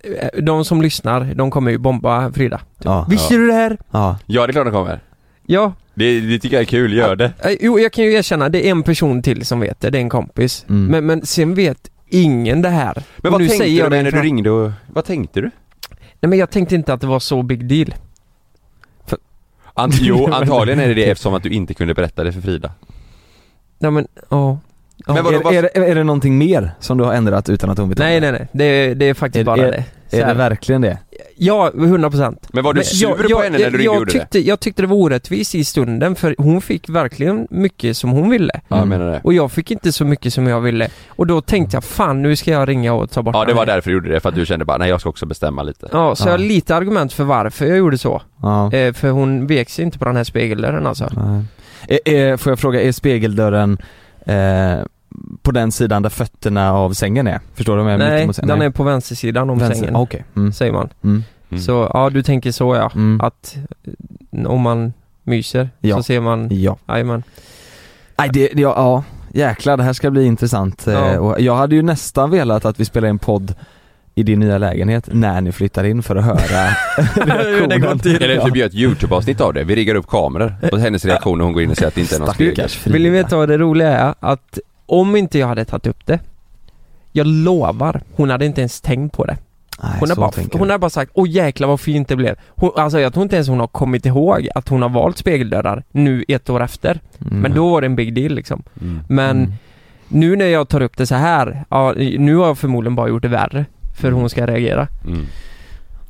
B: de som lyssnar, de kommer ju bomba Frida.
C: Ja,
B: Visste du det här?
C: ja.
D: Ja det är klart de kommer.
B: Ja.
D: Det, det tycker jag är kul, gör det.
B: Eh, Jo, jag kan ju erkänna, det är en person till som vet det, det är en kompis.
C: Mm.
B: Men, men sen vet ingen det här.
D: Men
B: Och
D: vad tänkte
B: säger
D: du
B: jag det
D: när du
B: fram-
D: ringde och, vad tänkte du?
B: Nej men jag tänkte inte att det var så big deal.
D: Ant- jo, antagligen är det det eftersom att du inte kunde berätta det för Frida.
B: Nej men, ja. ja.
D: Men vadå,
C: är, är, det- är det någonting mer som du har ändrat utan att hon vet om
B: nej
C: det?
B: nej nej, det, är- det är faktiskt
C: Är-
B: bara det. Så
C: Är det
B: här.
C: verkligen det?
B: Ja, 100 procent.
D: Men var du sur på henne när du ringde och
B: jag
D: gjorde
B: tyckte, Jag tyckte det var orättvist i stunden för hon fick verkligen mycket som hon ville.
D: Ja,
C: Mm.
D: jag menar det.
B: Och jag fick inte så mycket som jag ville. Och då tänkte jag, fan nu ska jag ringa och ta bort
D: Ja, det
B: henne.
D: var därför du gjorde det, för att du kände bara nej jag ska också bestämma lite.
B: Ja, så
C: Ja.
B: jag har lite argument för varför jag gjorde så.
C: Ja.
B: Eh, för hon vek sig inte på den här spegeldörren alltså.
C: Nej. Är, är, får jag fråga, är spegeldörren eh, på den sidan där fötterna av sängen är? Förstår du? vad jag menar?
B: Nej,
C: Mittemot sängen?
B: den är på vänstersidan om
C: Vänster-
B: sängen,
C: Ah, Okej. Mm.
B: säger man.
C: Mm.
D: Mm.
B: Så, ja du tänker så ja.
C: Mm.
B: Att eh, om man myser
C: Ja.
B: så ser man,
C: Ja.
B: jajamän.
C: Nej, det, det, ja, ja. Jäklar, det här ska bli intressant. Eh,
B: Ja.
C: Och jag hade ju nästan velat att vi spelar en podd i din nya lägenhet när ni flyttar in för att höra reaktionen.
D: Eller typ gör ett youtube-avsnitt av det, vi riggar upp kameror och hennes reaktion när hon går in och säger att det inte är någon spegel.
C: Stackars Frida.
B: Vill ni veta vad det roliga är? Att om inte jag hade tagit upp det jag lovar, hon hade inte ens tänkt på det.
C: Nej,
B: Hon,
C: så
B: har, bara,
C: tänker
B: hon
C: jag.
B: har bara sagt 'Åh jäklar vad fint det blev' hon, Alltså jag tror inte ens hon har kommit ihåg att hon har valt spegeldörrar nu ett år efter.
C: Mm.
B: Men då var det en big deal liksom.
D: Mm.
B: Men
C: Mm.
B: nu när jag tar upp det så här, ja, nu har jag förmodligen bara gjort det värre. För hon ska reagera.
D: Mm.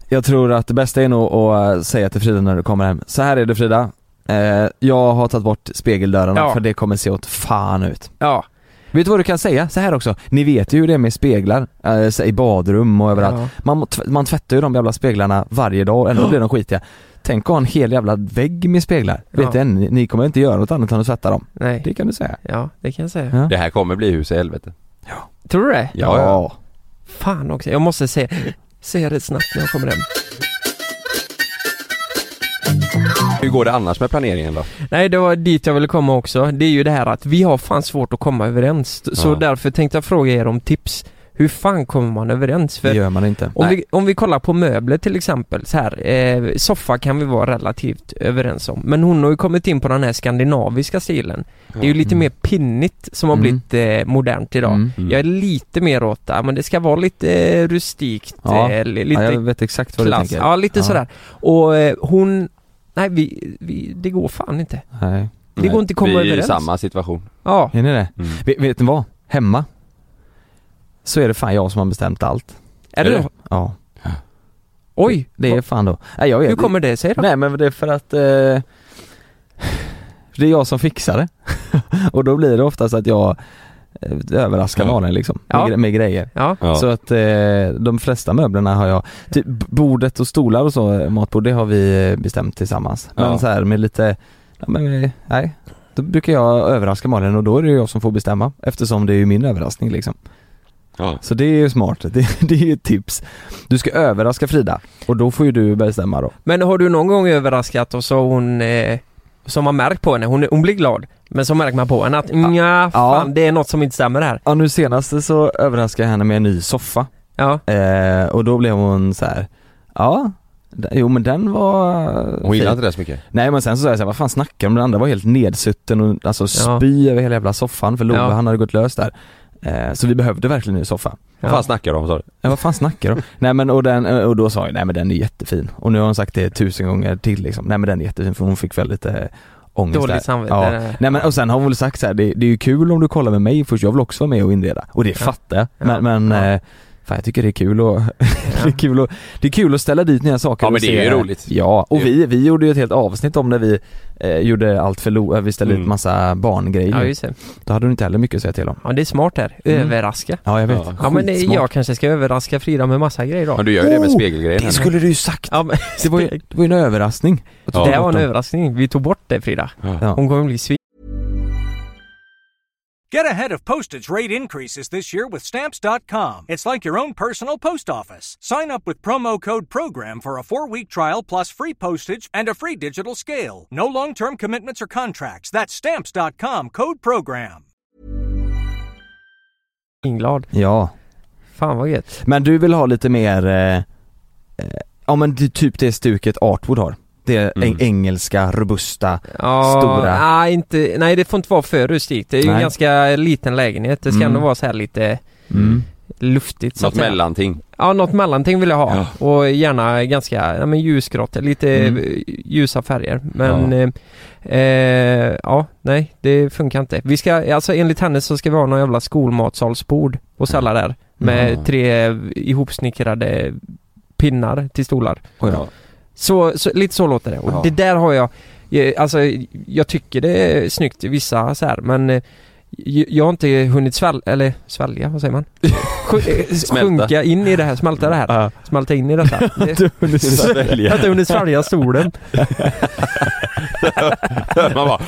C: Jag tror att det bästa är nog att eh, säga till Frida när du kommer hem. Så här är det Frida, eh, jag har tagit bort spegeldörrarna
B: Ja.
C: för det kommer se åt fan ut.
B: Ja.
C: Vet du vad du kan säga? Så här också, ni vet ju hur det är med speglar, eh, så- i badrum och överallt.
B: ja.
C: Man, må- tv- man tvättar ju de jävla speglarna varje dag och ändå blir de skitiga. Tänk att ha en hel jävla vägg med speglar.
B: Ja.
C: Vet du, ni, ni kommer inte göra något annat än att tvätta dem.
B: Nej.
C: Det kan du säga.
B: Ja, det kan jag säga.
C: Ja.
D: Det här kommer bli hus i helvete.
B: Tror du det?
D: Ja, ja.
B: Fan också, jag måste säga, säga det snabbt när jag kommer hem.
D: Hur går det annars med planeringen då?
B: Nej, det var dit jag ville komma också. Det är ju det här att vi har fan svårt att komma överens. Så
D: Ja.
B: därför tänkte jag fråga er om tips. Hur fan kommer man överens?
C: det
B: För
C: gör man inte.
B: om
D: Nej.
B: vi, om vi kollar på möbler till exempel så här, eh, soffa kan vi vara relativt överens om. Men hon har ju kommit in på den här skandinaviska stilen. Det är ju lite
C: Mm.
B: mer pinnigt som har
C: Mm.
B: blivit eh, modernt idag.
C: Mm.
D: Mm.
B: Jag är lite mer åt det, men det ska vara lite eh, rustikt,
C: Ja.
B: eh, li- lite
C: ja, jag vet exakt vad du
B: klass.
C: tänker.
B: Ja, lite
C: Ja.
B: sådär. Och eh, hon, nej vi, vi, det går fan inte.
C: Nej.
B: Det går inte att komma
D: Mm. vi är i
B: överens.
D: samma situation.
B: Ja,
C: Är ni det?
D: Mm.
C: Vet, vet ni vad? Hemma så är det fan jag som har bestämt allt.
B: är det,
D: Är det?
B: då?
C: Ja.
B: Oj!
C: Det är fan då. Nej, jag vet.
B: Hur kommer det sig då?
C: Nej men det är för att eh, det är jag som fixar det. och då blir det oftast att jag eh, överraskar
D: Ja.
C: någon liksom med,
B: Ja.
C: gre- med grejer.
B: Ja,
D: Ja.
C: Så att eh, de flesta möblerna har jag, typ bordet och stolar och så, eh, matbord det har vi eh, bestämt tillsammans. Men
D: Ja.
C: så här med lite, ja, men, eh, nej. Då brukar jag överraska Malin och då är det ju jag som får bestämma eftersom det är ju min överraskning liksom.
D: Ja.
C: Så det är ju smart, det, det är ju ett tips. Du ska överraska Frida och då får ju du bestämma då.
B: men har du någon gång överraskat och så har hon eh, som har märkt på henne, hon, hon blir glad men så märker man på henne att nja, fan det är något som inte stämmer här.
C: Ja nu senaste så överraskade jag henne med en ny soffa
B: Ja,
C: eh, och då blev hon så här. ja d- Jo men den var
D: Hon gillar
C: fin."
D: inte det så mycket.
C: Nej men sen så sa jag såhär, vad fan snackar du om? Den andra var helt nedsutten och alltså spy över hela jävla soffan för Love
B: Ja.
C: han hade gått lös där eh, Så vi behövde verkligen en ny soffa
B: ja.
D: Vad fan snackar du om sa du?
C: Ja vad fan snackar du om? Nej men och, den, och då sa jag, nej men den är jättefin Och nu har hon sagt det tusen gånger till liksom, nej men den är jättefin för hon fick väl lite eh, ångest där
B: dåligt samvete.
C: Ja.
B: Ja.
C: Nej men och sen har hon väl sagt så här, det, det är ju kul om du kollar med mig först, jag vill också vara med och inreda. Och det fattar jag.
B: Ja.
C: Men, men
B: Ja.
C: eh, fan jag tycker det är kul och det, är kul och, det är kul att ställa dit nya saker
D: Ja, men
C: och
D: det
C: se-
D: är ju roligt.
C: Ja, och
D: Jo.
C: vi, vi gjorde ju ett helt avsnitt om när vi eh, gjorde allt för lo- eh, vi ställde
D: Mm.
C: ut massa barngrejer.
B: ja, just det.
C: Då hade du inte heller mycket att säga till om.
B: Ja, det är smart här.
C: Mm.
B: Överraska.
C: Ja jag vet.
D: Ja.
B: Ja men eh,
C: Skitsmart.
B: jag kanske ska överraska Frida med massa grejer då.
D: Men du gör ju det med
C: Oh,
D: spegelgrejen.
C: Det skulle du ju sagt.
B: Ja, men,
C: Det var ju, det var ju en överraskning.
D: Ja.
B: det var en
C: Bortom.
B: överraskning. Vi tog bort det Frida.
C: Ja.
B: Hon kommer bli svin.
G: Get ahead of postage rate increases this year with Stamps.com. It's like your own personal post office. Sign up with promo code PROGRAM for a four week trial plus free postage and a free digital scale. No long term commitments or contracts. That's Stamps.com code PROGRAM.
B: glad.
C: Ja.
B: Fan vad gött.
C: Men du vill ha lite mer, eh, eh, ja men det- typ det stuket Artwood har. Det
D: Mm.
C: eng- engelska, robusta,
B: Ja, ah.
C: Stora.
B: Nej, inte, nej det får inte vara för rustikt. Det är ju
C: Nej.
B: en ganska liten lägenhet. Det ska
C: Mm.
B: ändå vara så här lite luftigt så
D: Något
B: att säga.
D: mellanting.
B: Ja, något mellanting vill jag ha. Och gärna ganska, ja men ljusgrått, lite
C: Mm.
B: eh, ljusa färger. Men, eh, eh, ja, nej det funkar inte. Vi ska, alltså enligt henne så ska vi ha någon jävla skolmatsalsbord och sälja där. Med
D: Mm.
B: tre ihopsnickrade pinnar till stolar.
C: Oj då.
B: Så, så lite så låter det. Och
D: Ja.
B: det där har jag, eh, alltså jag tycker det är snyggt i vissa så här men eh, j- jag har inte hunnit svälja, eller svälja, vad säger man? Sj- eh,
D: Smälta.
B: Sjunka in i det här, smälta det här. Smälta in i detta. Det- Jag har inte hunnit svälja solen.
D: Man bara,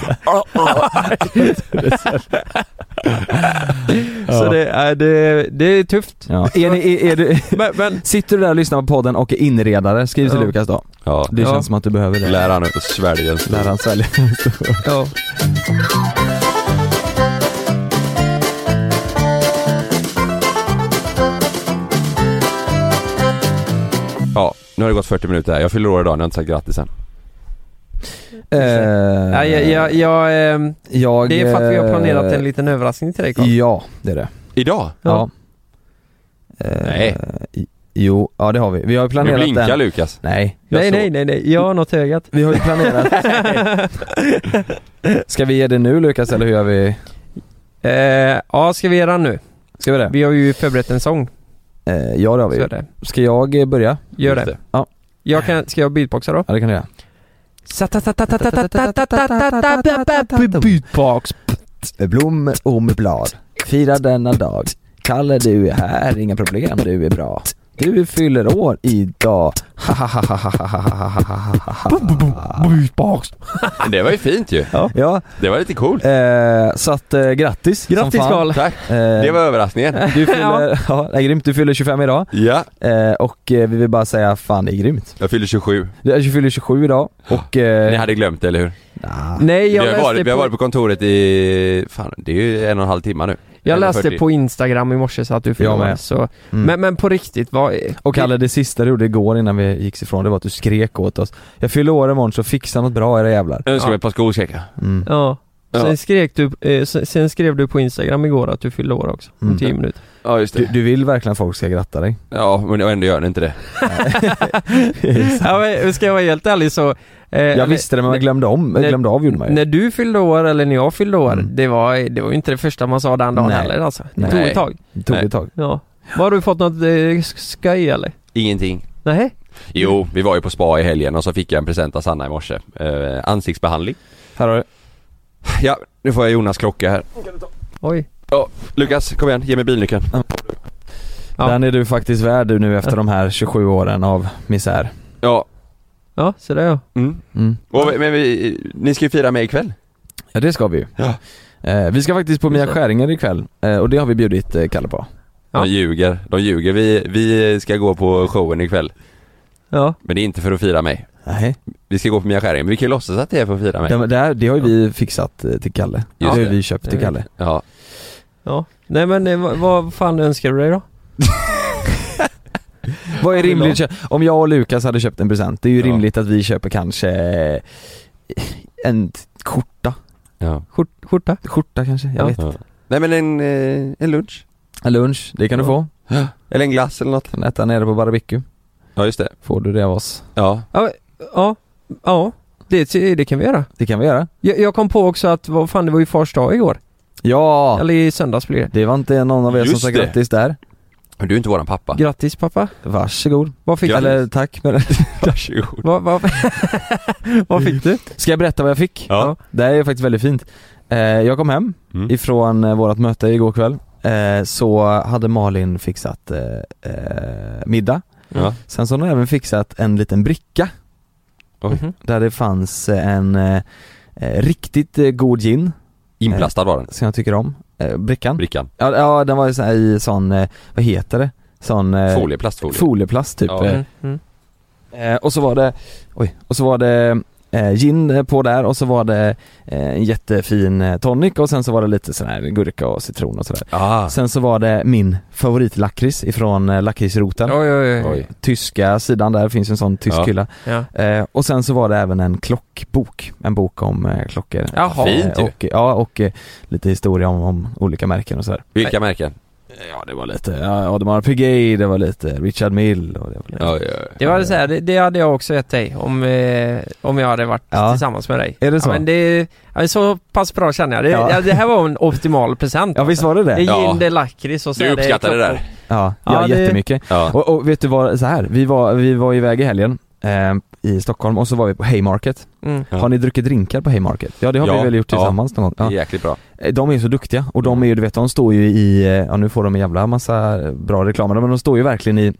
B: Så det, är- det, det är tufft.
C: Ja. Är ni, är, är du,
B: Men, men
C: sitter du där och lyssnar på podden och är inredare, skriv till
B: Ja.
C: Lukas då.
D: ja,
C: Det
B: Ja.
C: känns som att du behöver det.
D: lär han ut att svälja en
C: Lär han svälja.
B: ja.
D: Ja, nu har det gått 40 minuter här. Jag fyller år idag, ni har inte sagt grattis än.
C: Eh,
B: Nej, jag, jag, jag, eh,
C: jag,
B: det är för att vi har planerat
C: eh,
B: en liten överraskning till dig Carl.
C: Ja, det är det.
D: Idag?
B: Ja.
C: Ja. Eh,
D: Nej.
C: i- Jo, ja det har vi. Vi har ju
D: Nu
C: planerat
D: blinkar
C: den.
D: Lukas.
C: Nej. jag
B: Nej
C: såg-
B: nej nej nej, jag har något i ögat.
C: Vi har ju planerat. Ska vi ge det nu Lukas eller hur gör vi?
B: eh, ja, ska vi ge den nu?
C: Ska vi det?
B: Vi har ju förberett en sång,
C: Eh, ja det har
B: så
C: vi.
B: är det.
C: Ska jag eh, börja?
B: Gör
D: Just
B: det.
C: Ja.
B: Jag kan, ska jag beatboxa då?
C: Ja det kan du göra.
B: Beatbox.
C: Blom och med blad Fira denna dag Kalle du är här, inga problem, du är bra Du fyller år idag
B: Beatbox.
D: Men Det var ju fint ju.
C: Ja,
D: Det var lite coolt.
C: eh, så att eh, grattis som
B: Grattis
C: fan.
B: Carl.
D: Tack.
C: Eh,
D: Det var överraskningen.
C: Du fyller, ja, ja grymt, du fyller 25 idag
D: Ja,
C: eh, och eh, vi vill bara säga fan det är grymt
D: jag fyller 27.
C: Du är- du fyller 27 idag och... Eh,
D: Ni hade glömt det, eller hur?
C: nah.
B: Nej, jag
D: vi, har varit, vi har
B: läste,
D: varit
B: på,
D: på kontoret i, fan det är ju en och en halv timme nu.
B: jag läste
D: 11.40.
B: på Instagram i morse så att du
C: Jag
B: förlorade.
C: med.
B: Så.
C: Mm.
B: Men, men på riktigt, vad...
C: Och Kalle, det sista du gjorde igår innan vi gick ifrån det var att du skrek åt oss Jag fyller år imorgon så fixa något bra era jävlar
D: Jag önskar mig ett par skor säkert.
C: mm.
B: Ja. Sen,
D: Ja.
B: Skrek du, eh, sen, sen skrev du på Instagram igår att du fyllde år också, om
C: Mm.
B: 10 minuter.
D: Ja just
C: du,
D: det.
C: du vill verkligen att folk ska gratta dig
D: Ja men ändå gör ni inte det.
B: ja, men, ska jag vara helt ärlig så... eh,
C: Jag visste det men jag glömde om, jag
B: när-
C: glömde av gjorde man ju
B: När du fyllde år eller när jag fyllde år,
C: Mm.
B: det, var, det var ju inte det första man sa den dagen
C: Nej.
B: heller alltså. Det
C: Nej.
B: tog ett tag.
C: Det tog
D: Nej.
C: ett tag
B: Ja. Har du fått något eh, skoj eller?
D: Ingenting.
B: Nej?
D: Jo, vi var ju på spa i helgen och så fick jag en present av Sanna i morse. Eh, ansiktsbehandling.
C: Här har du
D: Ja, nu får jag Jonas klocka här.
B: Oj.
D: Ja, Lukas kom igen, ge mig bilnyckeln.
B: Ja.
C: Den är du faktiskt värd du nu efter de här 27 åren av misär
D: Ja.
B: Ja, så där ja.
D: Mm.
C: mm.
D: Och, vi- men vi, ni ska ju fira mig ikväll.
C: Ja det ska vi ju
D: Ja.
C: eh, Vi ska faktiskt på Mia Skäringer ikväll eh, och det har vi bjudit eh, Kalle på
B: Ja.
D: De ljuger, de ljuger. Vi, vi ska gå på showen ikväll.
B: Ja.
D: Men det är inte för att fira mig.
C: Nej,
D: Vi ska gå på Mia Skäring, men vi kan ju låtsas att det är för att fira mig.
C: det, det, här, det har ju vi fixat eh, till Kalle Det har
D: Just
C: ju
D: det.
C: vi köpt till
B: Det är
C: Kalle
D: Ja.
B: ja. Nej men eh, vad, vad fan önskar du dig då?
C: Vad är rimligt? kö- Om jag och Lukas hade köpt en present, det är ju
D: Ja.
C: rimligt att vi köper kanske eh, en t- skjorta,
D: ja.
B: Skjort, skjorta?
C: skjorta kanske, jag
B: Ja.
C: vet
D: ja. Nej men en, eh, en lunch.
C: En lunch, det kan du
B: Ja.
C: få,
D: Eller en glass eller något.
C: kan du äta nere på barbecue,
D: Ja just det.
C: får du det av oss
D: Ja.
B: Ja. Ja. Det, det kan vi göra.
C: Det kan vi göra
B: Jag, jag kom på också att, vad fan det var ju fars dag igår.
C: Ja!
B: Eller i söndags blir det.
C: Det var inte någon av er som
D: Just
C: sa
D: det.
C: grattis där
D: Men du är inte våran pappa.
B: Grattis pappa.
C: Varsågod
B: Vad fick du?
C: Eller tack men...
D: Varsågod.
B: Vad, vad, vad fick du?
C: Ska jag berätta vad jag fick?
D: Ja.
C: Det här är faktiskt väldigt fint eh, Jag kom hem
D: Mm.
C: ifrån eh, vårat möte igår kväll eh, Så hade Malin fixat eh, eh, middag
D: Ja.
C: Sen så har hon även fixat en liten bricka
D: Oj.
B: Mhm.
C: Där det fanns en eh, eh, riktigt eh, god gin
D: Inplastad var den.
C: som jag tycker om eh, Brickan
D: Brickan.
C: ja, ja den var ju så här i sån, eh, vad heter det? Sån eh,
D: Folie, plastfolie.
C: folieplast typ
D: Ja.
C: eh,
B: Mm, mm.
C: Eh, och så var det, oj, och så var det eh, gin på där och så var det eh, en jättefin eh, tonic och sen så var det lite sån här gurka och citron och sådär.
D: ah.
C: Sen så var det min favoritlakrits ifrån eh, lakritsroten.
B: Oj, oj, oj.
D: Oj.
C: Tyska sidan där finns ju en sån tysk
D: Ja.
C: hylla.
B: Ja.
C: Eh, och sen så var det även en klockbok, en bok om eh, klockor.
B: Jaha.
D: Fint.
C: Eh, och, ja, och eh, lite historia om, om olika märken och sådär.
D: Vilka märken?
C: Ja det var lite, ja, Audemars Piguet, det var lite Richard Mill och det var lite...
D: Ja, ja, ja.
B: Det var så här, det, det hade jag också gett dig om, eh, om jag hade varit
C: Ja.
B: tillsammans med dig.
C: Är det så?
B: Ja, men det, ja, men så pass bra känner jag. Det,
C: Ja.
B: ja. det här var en optimal present.
C: Ja visst var det
B: Det är
C: det?
B: gin,
D: Ja.
B: det är lakrits och så
D: Du
B: är
D: uppskattar det där?
C: Ja,
B: Ja,
C: ja
B: det-
C: jättemycket.
D: Ja.
C: Och, och vet du vad, så här, vi var, vi var iväg i helgen eh, i Stockholm och så var vi på Haymarket.
B: Mm.
D: Ja.
C: Har ni druckit drinkar på Haymarket? Ja det har
D: Ja.
C: vi väl gjort
D: Ja.
C: tillsammans någon gång? Ja.
D: Jäkligt bra.
C: Eh, De är ju så duktiga och de är ju, du vet de står ju i, eh, ja nu får de en jävla massa eh, bra reklamer men de står ju verkligen i,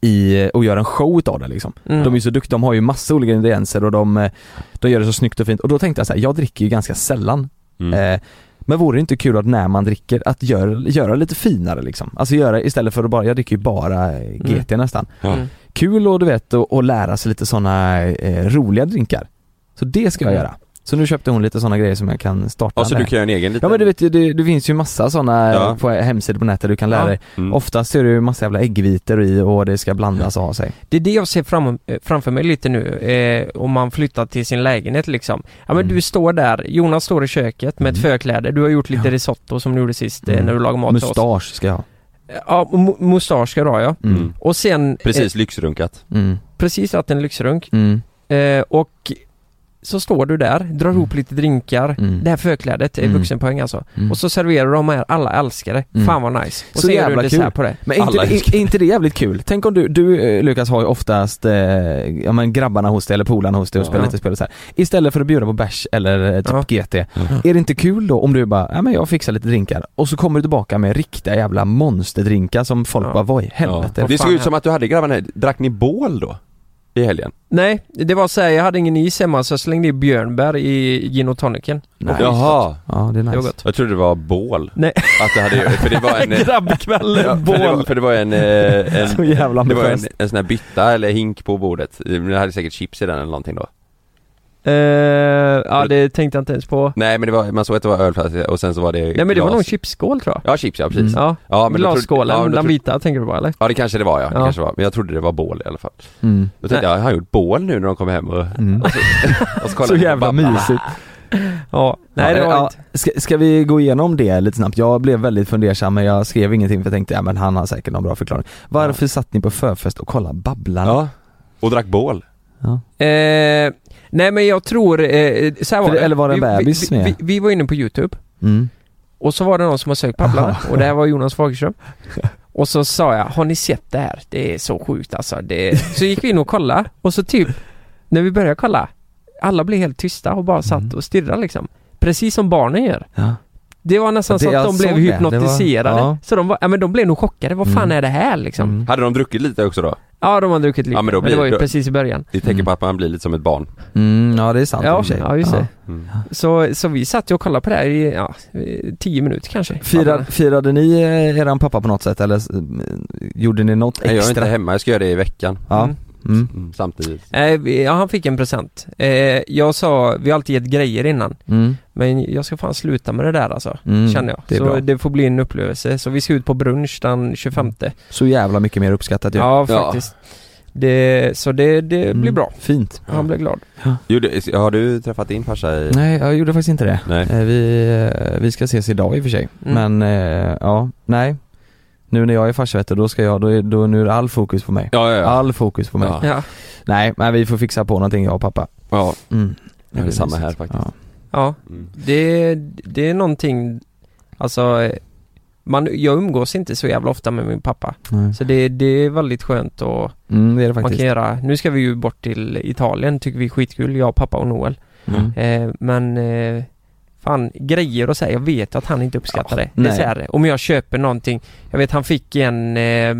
C: i eh, och gör en show utav det liksom.
B: Mm.
C: De är ju så duktiga, de har ju massa olika ingredienser och de, eh, de gör det så snyggt och fint och då tänkte jag så här, jag dricker ju ganska sällan
D: Mm.
C: Eh, men vore det inte kul att när man dricker, att göra, göra lite finare liksom? Alltså göra istället för att bara, jag dricker ju bara eh, GT nästan.
D: Mm. Ja.
B: Mm.
C: Kul och du vet, och, och lära sig lite sådana eh, roliga drinkar. Så det ska jag
B: Mm.
C: göra. Så nu köpte hon lite sådana grejer som jag kan starta
D: Ja, så
C: med.
D: Alltså, du kan göra en egen liten...
C: Ja men du vet ju, det, det finns ju massa sådana
D: Ja.
C: på hemsidor på nätet där du kan lära
B: Ja.
C: dig.
D: Mm.
C: Oftast ser du massa jävla äggvitor i och det ska blandas och ha sig.
B: Det är det jag ser fram, eh, framför mig lite nu, eh, om man flyttar till sin lägenhet liksom. Ja men
C: Mm.
B: du står där, Jonas står i köket med ett
C: Mm.
B: förkläde, du har gjort lite
C: Ja.
B: risotto som du gjorde sist eh,
C: Mm.
B: när du lagade mat till oss. Eh,
C: Mustasch ska jag ha.
B: Ja, mu- mustasch ska du ha ja.
C: Mm.
D: Mm.
B: Och sen... Eh,
D: Precis, lyxrunkat.
C: Mm.
B: precis att en lyxrunk.
C: Mm.
B: Eh, och så står du där, drar
C: Mm.
B: ihop lite drinkar.
C: Mm.
B: Det här förklädet är
C: Mm.
B: vuxenpoäng alltså.
C: Mm.
B: Och så serverar de här, alla älskar det.
C: Mm.
B: Fan vad nice.
C: Så
B: Och så gör du
C: jävla
B: dessert
C: kul.
B: på det.
C: Men är inte,
D: Alla
C: är,
D: älskar-
C: är inte det jävligt kul? Tänk om du, du eh, Lukas har ju oftast, eh, ja men grabbarna hos dig eller polarna hos dig och
D: Ja.
C: spelar lite spel och så här. Istället för att bjuda på bärs eller eh, typ GT,
D: Ja.
C: är det inte kul då om du bara, ja men jag fixar lite drinkar och så kommer du tillbaka med riktiga jävla monsterdrinkar som folk
B: Ja.
C: bara, vad i helvete?
D: Ja. Det såg
B: fan
D: ut som att du hade grabbarna, drack ni bål då? I helgen?
B: Nej, det var så här, jag hade ingen is hemma så jag slängde i björnbär i gin och tonicen.
C: Nice.
D: Jaha,
C: Ja det är
B: Det var
C: nice.
B: gott.
D: jag trodde det var bål.
B: Nej.
D: Att det hade, för det var en... Ja,
B: Grabbkvällen,
D: för, det var,
B: bål.
D: för det var en... eh, en
C: Så jävla
D: det var en,
C: ambitiöst.
D: en sån här bytta eller hink på bordet. Men det hade säkert chips i den eller någonting då.
B: Eh, ja det tänkte jag inte ens på.
D: Nej men det var, man såg att det var ölflaska och sen så var det
B: Nej men det var
D: glas.
B: någon chipsskål tror jag.
D: Ja, chips ja, precis.
C: Mm.
B: Ja,
D: Ja, men då trodde-
B: glasskålen,
D: ja, men då
B: den
D: trodde-
B: vita tänker du på eller?
D: Ja det kanske det var ja, det
B: Ja.
D: kanske var. Men jag trodde det var bål i alla fall.
C: Mm.
D: Då tänkte jag, har han gjort bål nu när de kommer hem och...
C: Mm.
D: och så, kollade
C: Så
D: jag på
C: jävla
D: Babba.
C: mysigt.
B: Ja, nej det var
C: ja,
B: inte.
C: ska, ska vi gå igenom det lite snabbt? Jag blev väldigt fundersam men jag skrev ingenting för jag tänkte, ja men han har säkert någon bra förklaring. Varför satt ni på förfest och kollade Babblarna?
D: Ja. Och drack bål.
B: Eh, nej men jag tror, eh, så här var
C: För-
B: det.
C: eller var det en
B: Vi- vi-
C: bebis
B: vi,
C: med?
B: vi, vi var inne på youtube
C: Mm.
B: och så var det någon som har sökt Pabblarna och det här var Jonas Fagerström. Och så sa jag, har ni sett det här? Det är så sjukt alltså. Det... Så gick vi in och kollade och så typ, när vi började kolla, alla blev helt tysta och bara satt
C: Mm.
B: och stirrade liksom. Precis som barnen gör.
C: Ja.
B: Det var nästan
C: Det
B: så att
C: jag
B: de blev
C: såg det, det var-
B: hypnotiserade.
C: ja.
B: Så de var, ja men de blev nog chockade, vad fan
C: Mm.
B: är det här liksom?
C: Mm.
D: Hade de druckit lite också då?
B: Ja de har druckit lite,
D: Ja, men då
B: men, det
D: blir-
B: var ju
D: då-
B: precis i början.
D: Det är tecken
C: Mm.
D: på att man blir lite som ett barn.
C: Mm, ja det är sant i och
B: Ja,
C: för sig.
B: ja, just det.
D: Mm.
B: Så, så vi satt ju och kollade på det här i, ja, eh, tio minuter kanske.
C: Firad, firade ni eh, eran pappa på något sätt eller eh, gjorde ni något
D: Nej, jag är
C: extra?
D: inte hemma, jag ska göra det i veckan.
C: ja.
B: Mm.
C: Mm.
D: Mm. Samtidigt.
B: Eh, vi- ja, han fick en present. Eh, jag sa, vi har alltid gett grejer innan.
C: Mm.
B: Men jag ska fan sluta med det där alltså.
C: Mm.
B: Känner jag.
C: Det är
B: så
C: bra.
B: det får bli en upplevelse. Så vi ska ut på brunch den 25.
C: Så jävla mycket mer uppskattat ju.
B: Ja,
D: Ja.
B: faktiskt. Det, så det, det
C: Mm.
B: blir bra.
C: Fint.
D: Ja.
B: Han blev glad.
D: Gjorde, har du träffat din farsa i...
C: Nej, jag gjorde faktiskt inte det.
D: Nej.
C: Eh, Vi, eh, vi ska ses idag i och för sig.
B: Mm.
C: Men eh, ja, nej. Nu när jag är farsa vet du, då ska jag, då är, då, nu är det all fokus på mig.
D: Ja, ja, ja.
C: All fokus på mig.
D: Ja.
B: Ja.
C: Nej, men vi får fixa på någonting jag och pappa.
D: ja.
C: Mm.
D: det är
C: blir
D: samma
C: mysigt.
D: här faktiskt.
C: Ja.
B: ja.
D: Mm.
B: Det, det är någonting, alltså eh, man, jag umgås inte så jävla ofta med min pappa.
C: Nej.
B: Så det, det är väldigt skönt att
C: Mm, det är det
B: man
C: faktiskt.
B: kan göra. Nu ska vi ju bort till Italien, tycker vi är skitkul, jag, pappa och Noel.
C: Mm.
B: Eh, men eh, fan, grejer och så här, jag vet att han inte uppskattar det. Det är
C: nej.
B: så här, om jag köper någonting, jag vet han fick en, eh,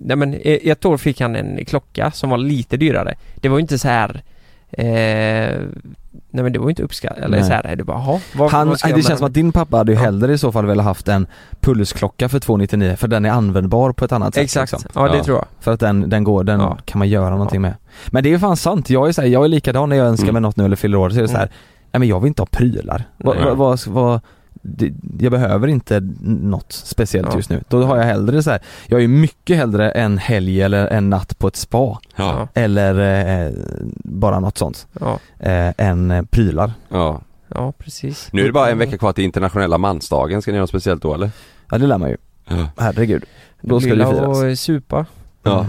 B: nej men eh, ett år fick han en klocka som var lite dyrare. Det var ju inte så här eh, Nej men det var ju inte uppskattat, eller
C: Nej.
B: så här, det bara, jaha, vad,
C: Han,
B: vad ska jag
C: det
B: med
C: känns som att din pappa hade ju hellre i så fall velat haft en pulsklocka för 299 för den är användbar på ett annat sätt
B: Exakt,
C: liksom.
B: ja det
D: Ja.
B: tror jag.
C: För att den, den går, den
B: Ja.
C: kan man göra någonting med. Men det är ju fan sant, jag är så här, jag är likadan när jag önskar
D: Mm.
C: mig något nu eller fyller år så är det så här,
B: Mm.
C: nej men jag vill inte ha prylar. Vad,
D: Nej.
C: vad, vad, vad det, jag behöver inte något speciellt
B: Ja.
C: just nu. Då har jag hellre så här, jag är ju mycket hellre en helg eller en natt på ett spa
D: Ja.
C: eller eh, bara något sånt.
B: Ja,
C: Eh, än eh, prylar.
D: ja.
B: ja precis.
D: Nu är det bara en vecka kvar till internationella mansdagen, ska ni göra något speciellt då eller?
C: Ja det lär man ju. Herregud. Då ska det
B: Lilla
C: ju firas.
B: och eh, supa.
D: Ja.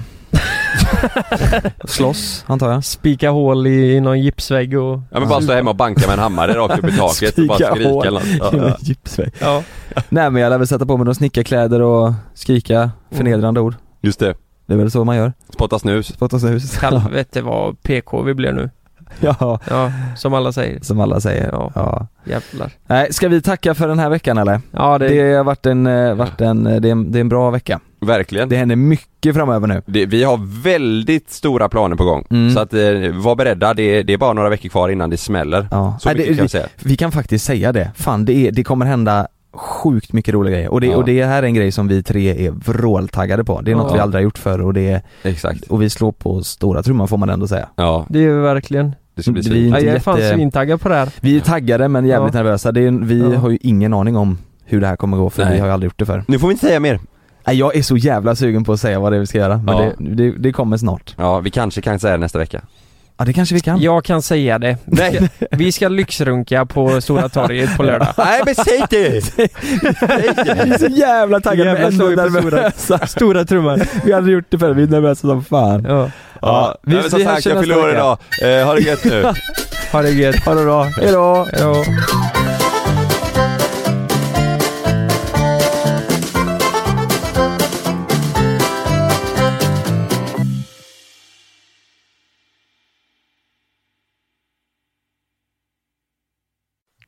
C: Slåss, antar jag.
B: Spika hål i någon gipsvägg och...
D: Ja men bara stå hemma och banka med en hammare rakt upp i taket och bara
C: Skrika Alltså-
D: skrika
C: hål.
D: eller något. Ja, ja.
C: Gipsvägg.
B: Ja.
C: Nej men jag lär väl sätta på mig några snickarkläder och skrika förnedrande ord.
D: Just det.
C: Det är väl så man gör.
D: Spotta snus.
C: Spotta snus.
B: Helvete vad PK vi blev nu.
C: Ja,
B: Ja, som alla säger.
C: som alla säger.
B: Ja.
C: Ja.
B: Jävlar.
C: Nej, ska vi tacka för den här veckan eller?
B: Ja, det...
C: Det har varit en, eh, varit en, eh, det är en, det är en bra vecka.
D: Verkligen.
C: Det händer mycket framöver nu.
D: Det, vi har väldigt stora planer på gång.
C: Mm.
D: Så att eh, var beredda, det, det är bara några veckor kvar innan det smäller.
C: Ja.
D: Så
C: Nej,
D: mycket
C: det,
D: kan jag säga.
C: vi kan faktiskt säga det. Fan, det, är, det kommer hända sjukt mycket roliga grejer. Och det,
D: Ja.
C: och det här är en grej som vi tre är vråltaggade på. Det är något
B: Ja.
C: vi aldrig har gjort förr och, det är,
D: Exakt.
C: och vi slår på stora trumman får man ändå säga.
D: Ja,
B: Det är verkligen.
D: det ska bli
C: Vi-
D: svinigt.
B: Ja, jag är
C: jätte-
B: fan svintaggad på det här.
C: Vi är taggade men jävligt
B: Ja.
C: nervösa. Det är, en- vi
B: Ja.
C: har ju ingen aning om hur det här kommer gå för
D: Nej.
C: vi har ju aldrig gjort det förr.
D: Nu får vi inte säga mer.
C: Nej, jag är så jävla sugen på att säga vad det är vi ska göra men
D: Ja.
C: det, det, det kommer snart.
D: Ja, vi kanske kan säga det nästa vecka.
C: Ja det kanske vi kan.
B: Jag kan säga det. Vi
D: Nej.
B: ska, vi ska lyxrunka på Stora torget på lördag.
D: Nej men säg det!
C: Vi är så jävla taggade
B: Jävla
C: men ändå
B: sorg på stora-
C: nervösa.
B: Stora trumman.
C: Vi har aldrig gjort det förr, vi är nervösa som fan.
B: Ja.
D: Ja, vi,
C: vi-
D: men som
C: vi hörs
D: sagt, jag
C: nästa
D: fyller år
C: vecka.
D: idag. Eh, ha det gött nu.
B: Ha det gött.
C: Ha det bra, hejdå!
B: Ja.